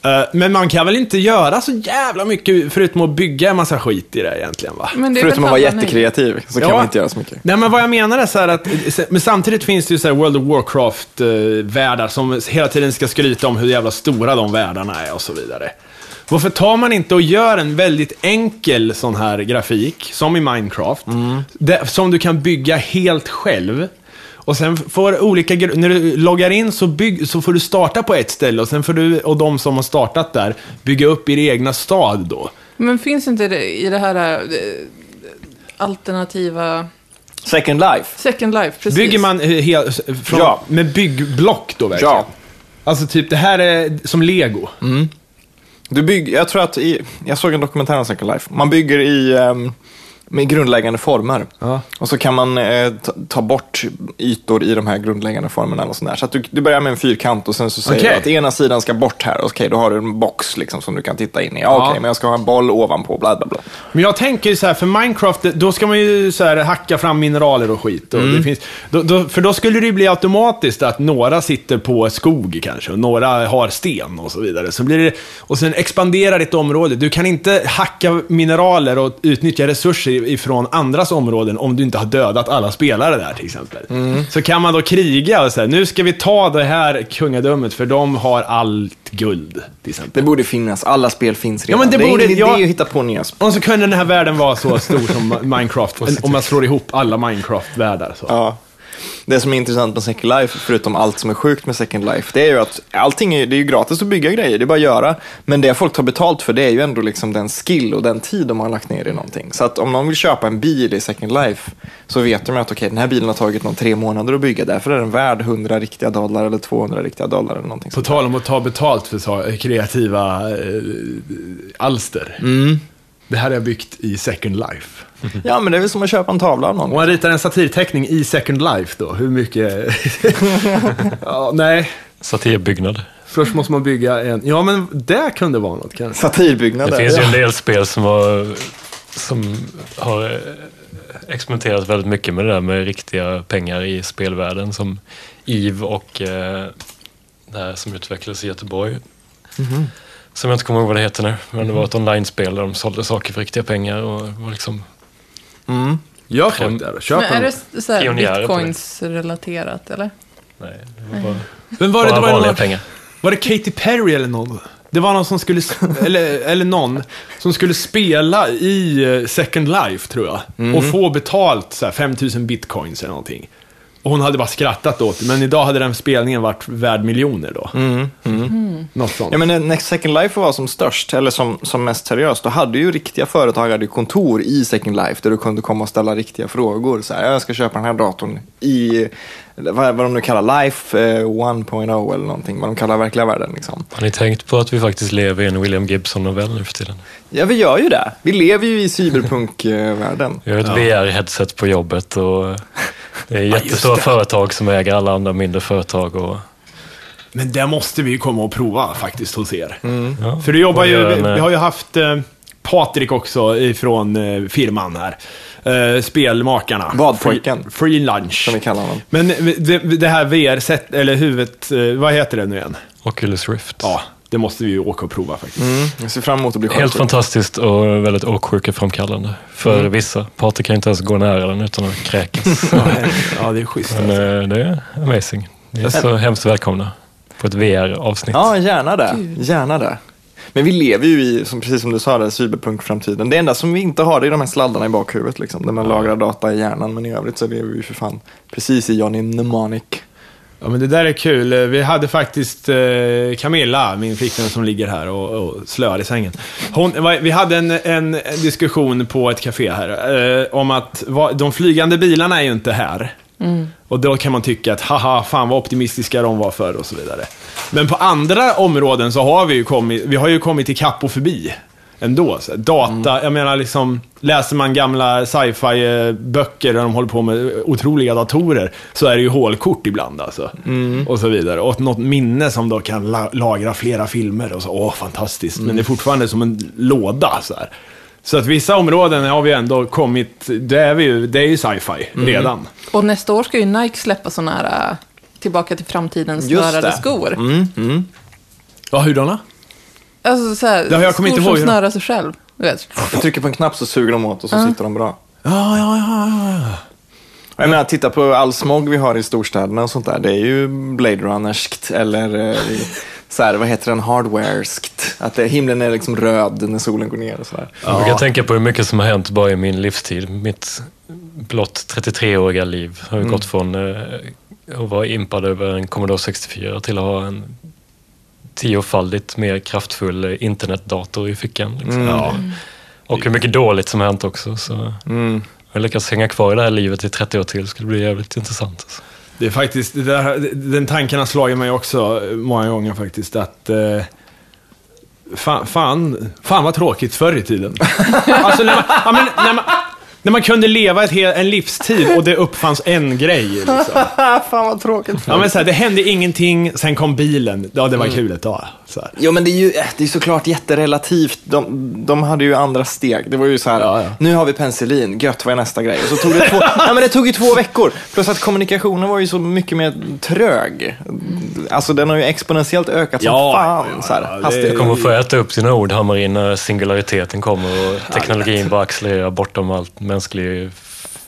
Eh, men man kan väl inte göra så jävla mycket förutom att bygga en massa skit i det egentligen va?
Men det är
Förutom
väl
att vara
fan nej.
jättekreativ så kan
Ja.
man inte göra så mycket.
Nej men vad jag menar är så här att, eh, men samtidigt finns det ju så här World of Warcraft-världar som hela tiden ska skryta om hur jävla stora de världarna är och så vidare. Varför tar man inte och gör en väldigt enkel sån
Mm.
här grafik, som i Minecraft, där- som du kan bygga helt själv. Och sen får olika, gru- när du loggar in så, bygg, så får du starta på ett ställe och sen får du och de som har startat där bygga upp i din egna stad då.
Men finns inte det i det här eh, alternativa...
Second life.
Second life, precis.
Bygger man eh, he- från,
Ja.
med byggblock då verkligen?
Ja.
Alltså typ, det här är som lego.
Du bygger, jag tror att, i, jag såg en dokumentär om Second Life. Man bygger i ehm, med grundläggande former.
Ja.
Och så kan man eh, ta, ta bort ytor i de här grundläggande formerna. Och sådär. Så att du, du börjar med en fyrkant och sen så säger
Okej.
du att ena sidan ska bort här. Okej, då har du en box liksom, som du kan titta in i. Ja,
Ja.
Okej, men jag ska ha en boll ovanpå, bla bla bla.
Men jag tänker ju så här, för Minecraft, då ska man ju så här hacka fram mineraler och skit. Och det finns, då, då, för då skulle det ju bli automatiskt att några sitter på skog kanske, och några har sten och så vidare. Så blir det, och sen expanderar ditt område. Du kan inte hacka mineraler och utnyttja resurser ifrån andras områden om du inte har dödat alla spelare där till exempel. Så kan man då kriga och säga, nu ska vi ta det här kungadömet för de har allt guld. Till exempel.
Det borde finnas, alla spel finns redan.
men det borde-
är ingen
jag-
idé att hitta på nya spel.
Och så kunde den här världen vara så stor som Minecraft, om man slår ihop alla Minecraft-världar. Så.
Ja. Det som är intressant med Second Life, förutom allt som är sjukt med Second Life, det är ju att allting är, det är ju gratis att bygga grejer, det är bara att göra. Men det folk tar betalt för, det är ju ändå liksom den skill och den tid de har lagt ner i någonting. Så att om någon vill köpa en bil i Second Life, så vet de ju att okej, den här bilen har tagit någon tre månader att bygga, därför är den värd 100 riktiga dollar eller 200 riktiga dollar eller någonting.
På
sånt.
tal om att ta betalt för sa- kreativa eh, alster. Det här har jag byggt i Second Life.
Ja, men det är väl som att köpa en tavla av
Om
någon.
man ritar en satirteckning i Second Life då, hur mycket... ja, nej,
Satirbyggnad.
först måste man bygga en... Ja, men det kunde vara något kanske.
Det
Satirbyggnader.
finns ju
Ja.
en del spel som har, som har eh, experimenterat väldigt mycket med det där med riktiga pengar i spelvärlden. Som EVE och eh, det här som utvecklades i Göteborg.
Mhm.
Som jag inte kommer ihåg vad det heter nu. Men det var ett online-spel där de sålde saker för riktiga pengar. Och det var liksom,
Gör folk det då? Köp
Men är
en.
det så här
Pionjärer på det.
bitcoins-relaterat, eller?
nej, det var bara,
Men Mm. var det,
bara
det var
vanliga
någon,
pengar.
Var det Katy Perry eller någon? Det var någon som skulle,
[laughs]
eller, eller någon, som skulle spela i eh, Second Life tror jag. Och
Mhm.
få betalt så här, 5000 bitcoins eller någonting. Och hon hade bara skrattat åt det, men idag hade den spelningen varit värd miljoner då. Något sånt.
Mm, Ja, men när- när Second Life var som störst, eller som, som mest seriöst, då hade ju riktiga företag hade ju kontor i Second Life där du kunde komma och ställa riktiga frågor. Så här, jag ska köpa den här datorn i, vad, vad de nu kallar Life eh, 1.0 eller någonting, vad de kallar verkliga världen. Liksom.
Har ni tänkt på att vi faktiskt lever i en William Gibson-novell nu för tiden?
Ja, vi gör ju det. Vi lever ju i eh, cyberpunk-världen.
Vi har ett VR-headset på
[laughs]
jobbet och det är jättestora företag som äger alla andra mindre företag. Och,
Men det måste vi ju komma och prova faktiskt hos er.
Mm.
ja.
Mm. För du jobbar
Och
ju,
gör en,
vi,
eh,
vi har ju haft eh, Patrik också ifrån eh, firman här. Eh, spelmakarna.
Vadpojken.
Free, free lunch.
Som vi kallar honom.
Men eh, det, det här VR-set, eller huvudet, eh, vad heter det nu igen? Mm.
Oculus Rift.
Ja, det måste vi ju åka och prova faktiskt.
Jag ser fram emot att bli
Helt
skärpt.
fantastiskt och väldigt åksjukeframkallande för vissa. Patrik kan inte ens gå nära den utan att
[laughs]
kräkas.
Ja, det är schysst.
Men eh, det är amazing. Ni är så hemskt välkomna på ett VR-avsnitt.
Ja, gärna det. Gärna det. Men vi lever ju i, som, precis som du sa, där, cyberpunk-framtiden. Det enda som vi inte har det är de här sladdarna i bakhuvudet, liksom, där man lagrar data i hjärnan. Men i övrigt så lever vi ju för fan precis i Johnny Mnemonic.
Ja, men det där är kul. Eh, Vi hade faktiskt eh, Camilla, min flickvän som ligger här och, och slöar i sängen. Hon, vi hade en, en diskussion på ett café här eh, om att vad, de flygande bilarna är ju inte här. Och då kan man tycka att haha, fan vad optimistiska de var förr och så vidare. Men på andra områden så har vi ju kommit, vi har ju kommit ikapp och förbi ändå. Så här, data, jag menar liksom, läser man gamla sci-fi eh, böcker där de håller på med otroliga datorer så är det ju hålkort ibland alltså. Och så vidare. Och något minne som då kan la- lagra flera filmer och så, åh fantastiskt. Men det är fortfarande som en låda så här. Så att vissa områden har vi ändå kommit, det är, vi ju, det är ju sci-fi redan.
Och nästa år ska ju Nike släppa sådana här eh, Tillbaka till framtidens
Just
snörade
det.
skor.
Mm. Ja, hurdana?
Alltså så här,
Det har jag kommit
skor
inte
som
ihåg hur de-
snörar sig själv. Du vet.
Jag trycker på en knapp så suger de åt och så sitter de bra.
Ja, ja, ja, ja, ja.
Jag menar, titta på all smog vi har i storstäderna och sånt där. Det är ju Blade Runnerskt eller eh, så här, vad heter den, hardwareskt. Att det, himlen är liksom röd när solen går ner och sådär.
Jag kan tänka på hur mycket som har hänt bara i min livstid. Mitt blott 33-åriga liv har ju gått från eh, att vara impad över en Commodore 64 till att ha en tiofaldigt mer kraftfull eh, internetdator i fickan. Liksom.
Ja.
Och hur mycket dåligt som har hänt också. Så. Mm. Jag lyckas hänga kvar i det här livet i 30 år till skulle bli jävligt intressant. Alltså.
Det är faktiskt, det där, den tanken har slagit mig också eh, många gånger faktiskt att eh, fan, fan, fan vad tråkigt förr i tiden. alltså när man, ja, men, när man, när man kunde leva ett, hel- en livstid och det uppfanns en grej. Liksom.
Fan vad tråkigt.
Ja, men så här, det hände ingenting, sen kom bilen. Ja, det var kul ett tag. Så här.
Jo, men det är ju eh, det är såklart jätterelativt. De, de hade ju andra steg. Det var ju så här,
Ja, ja.
nu har vi penicillin, gött, vad är nästa grej? Och så tog det två, [laughs] nej, men det tog ju två veckor. Plus att kommunikationen var ju så mycket mer trög. Alltså den har ju exponentiellt ökat som
Ja,
fan.
ja,
så här,
ja, det-
hastighet.
Du kommer
Mm.
få äta upp sina ord, Hammarin, när
[laughs]
singulariteten kommer och teknologin bara accelererar bortom allt mänsklig,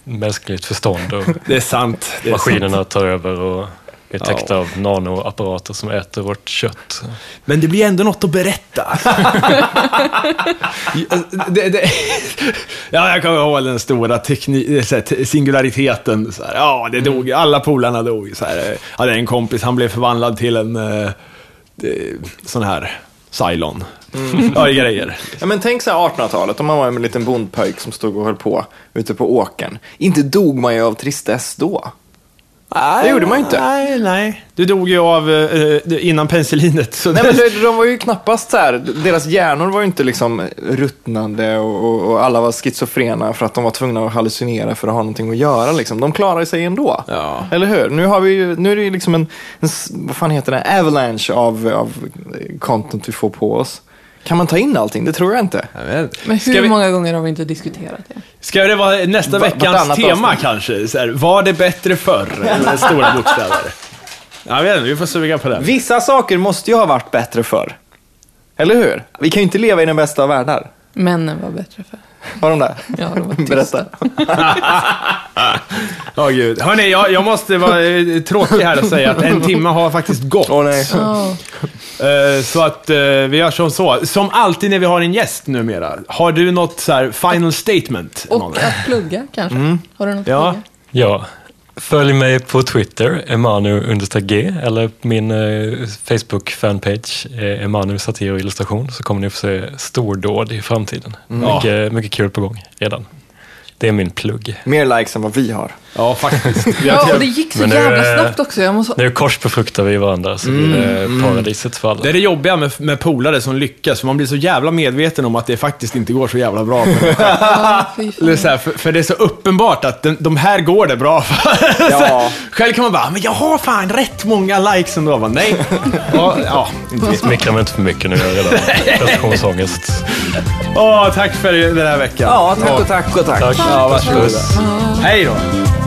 mänskligt förstånd och
Det är sant. Det är sant.
maskinerna tar över och vi är täckta av nanoapparater som äter vårt kött.
Men det blir ändå något att [laughs] berätta. det, det, ja, jag kommer ihåg den stora tekni- så här, te- singulariteten. Så här, ja, det dog. Alla polarna dog. Så här, eh, hade en kompis, han blev förvandlad till en eh, eh, sån här Cylon. Ja, det är grejer.
Ja, men tänk så här 1800-talet, om man var en liten bondpöjk som stod och höll på ute på åkern. Inte dog man ju av tristess då. Det gjorde man ju inte.
Nej, nej. Du dog ju av eh, eh, innan penicillinet. Så
Nej,
[laughs]
men de- de var ju knappast så här, deras hjärnor var ju inte liksom ruttnande och, och, och alla var schizofrena för att de var tvungna att hallucinera för att ha någonting att göra. Liksom. De klarade sig ändå.
Ja.
Eller hur? Nu, har vi ju, nu är det ju liksom en, en, s- vad fan heter det, avalanche av, av content vi får på oss. Kan man ta in allting? Det tror jag inte.
Men
Ska
hur
vi-
många gånger har vi inte diskuterat det?
Ska det vara nästa
Va-
veckans
vartannat
tema
avsnitt.
kanske? Så här, var det bättre förr? Med stora bokstäver. Jag vet inte, vi får suga på den.
Vissa saker måste ju ha varit bättre förr. Eller hur? Vi kan ju inte leva i den bästa av världar.
Männen var bättre för.
Har de det?
Ja, de var tysta.
[laughs] Berätta.
Ja, gud. Hörni, jag, jag måste vara eh, tråkig här och säga att en timme har faktiskt gått.
Åh nej.
Ja.
Eh, Så att eh, vi gör som så. Som alltid när vi har en gäst numera. Har du något så här final statement?
Och
Emanuel?
att plugga kanske. Har du något
Mm. Ja.
att plugga?
Ja, följ mig på Twitter, emanu-g, eller min eh, Facebook-fanpage, eh, Emanu satir och illustration, så kommer ni få se stordåd i framtiden. Mycket, mycket kul på gång redan. Det är min plugg.
Mer likes än vad vi har.
Ja, faktiskt. Vi
Ja,
har
och det gick så
Men nu,
jävla
eh,
snabbt också.
[laughs]
Jag måste...
Nu korsbefruktar vi varandra så blir det paradiset för alla.
Det är det jobbiga med, med polare som lyckas, för man blir så jävla medveten om att det faktiskt inte går så jävla bra. För, dem.
Ja, fy fan.
Eller så här, för, för det är så uppenbart att den, de här går det bra för. [laughs]
Ja.
Själv kan man bara, men jag har fan rätt många likes ändå. Jag Bara, Nej. ja, ja, inte
Vi
visst.
smickrar mig inte för mycket nu, jag har redan prestationsångest.
Åh, tack för den här veckan.
Ja, tack och tack och tack.
Tack.
Ja, varsågoda.
Puss.
Hej då.
Hej.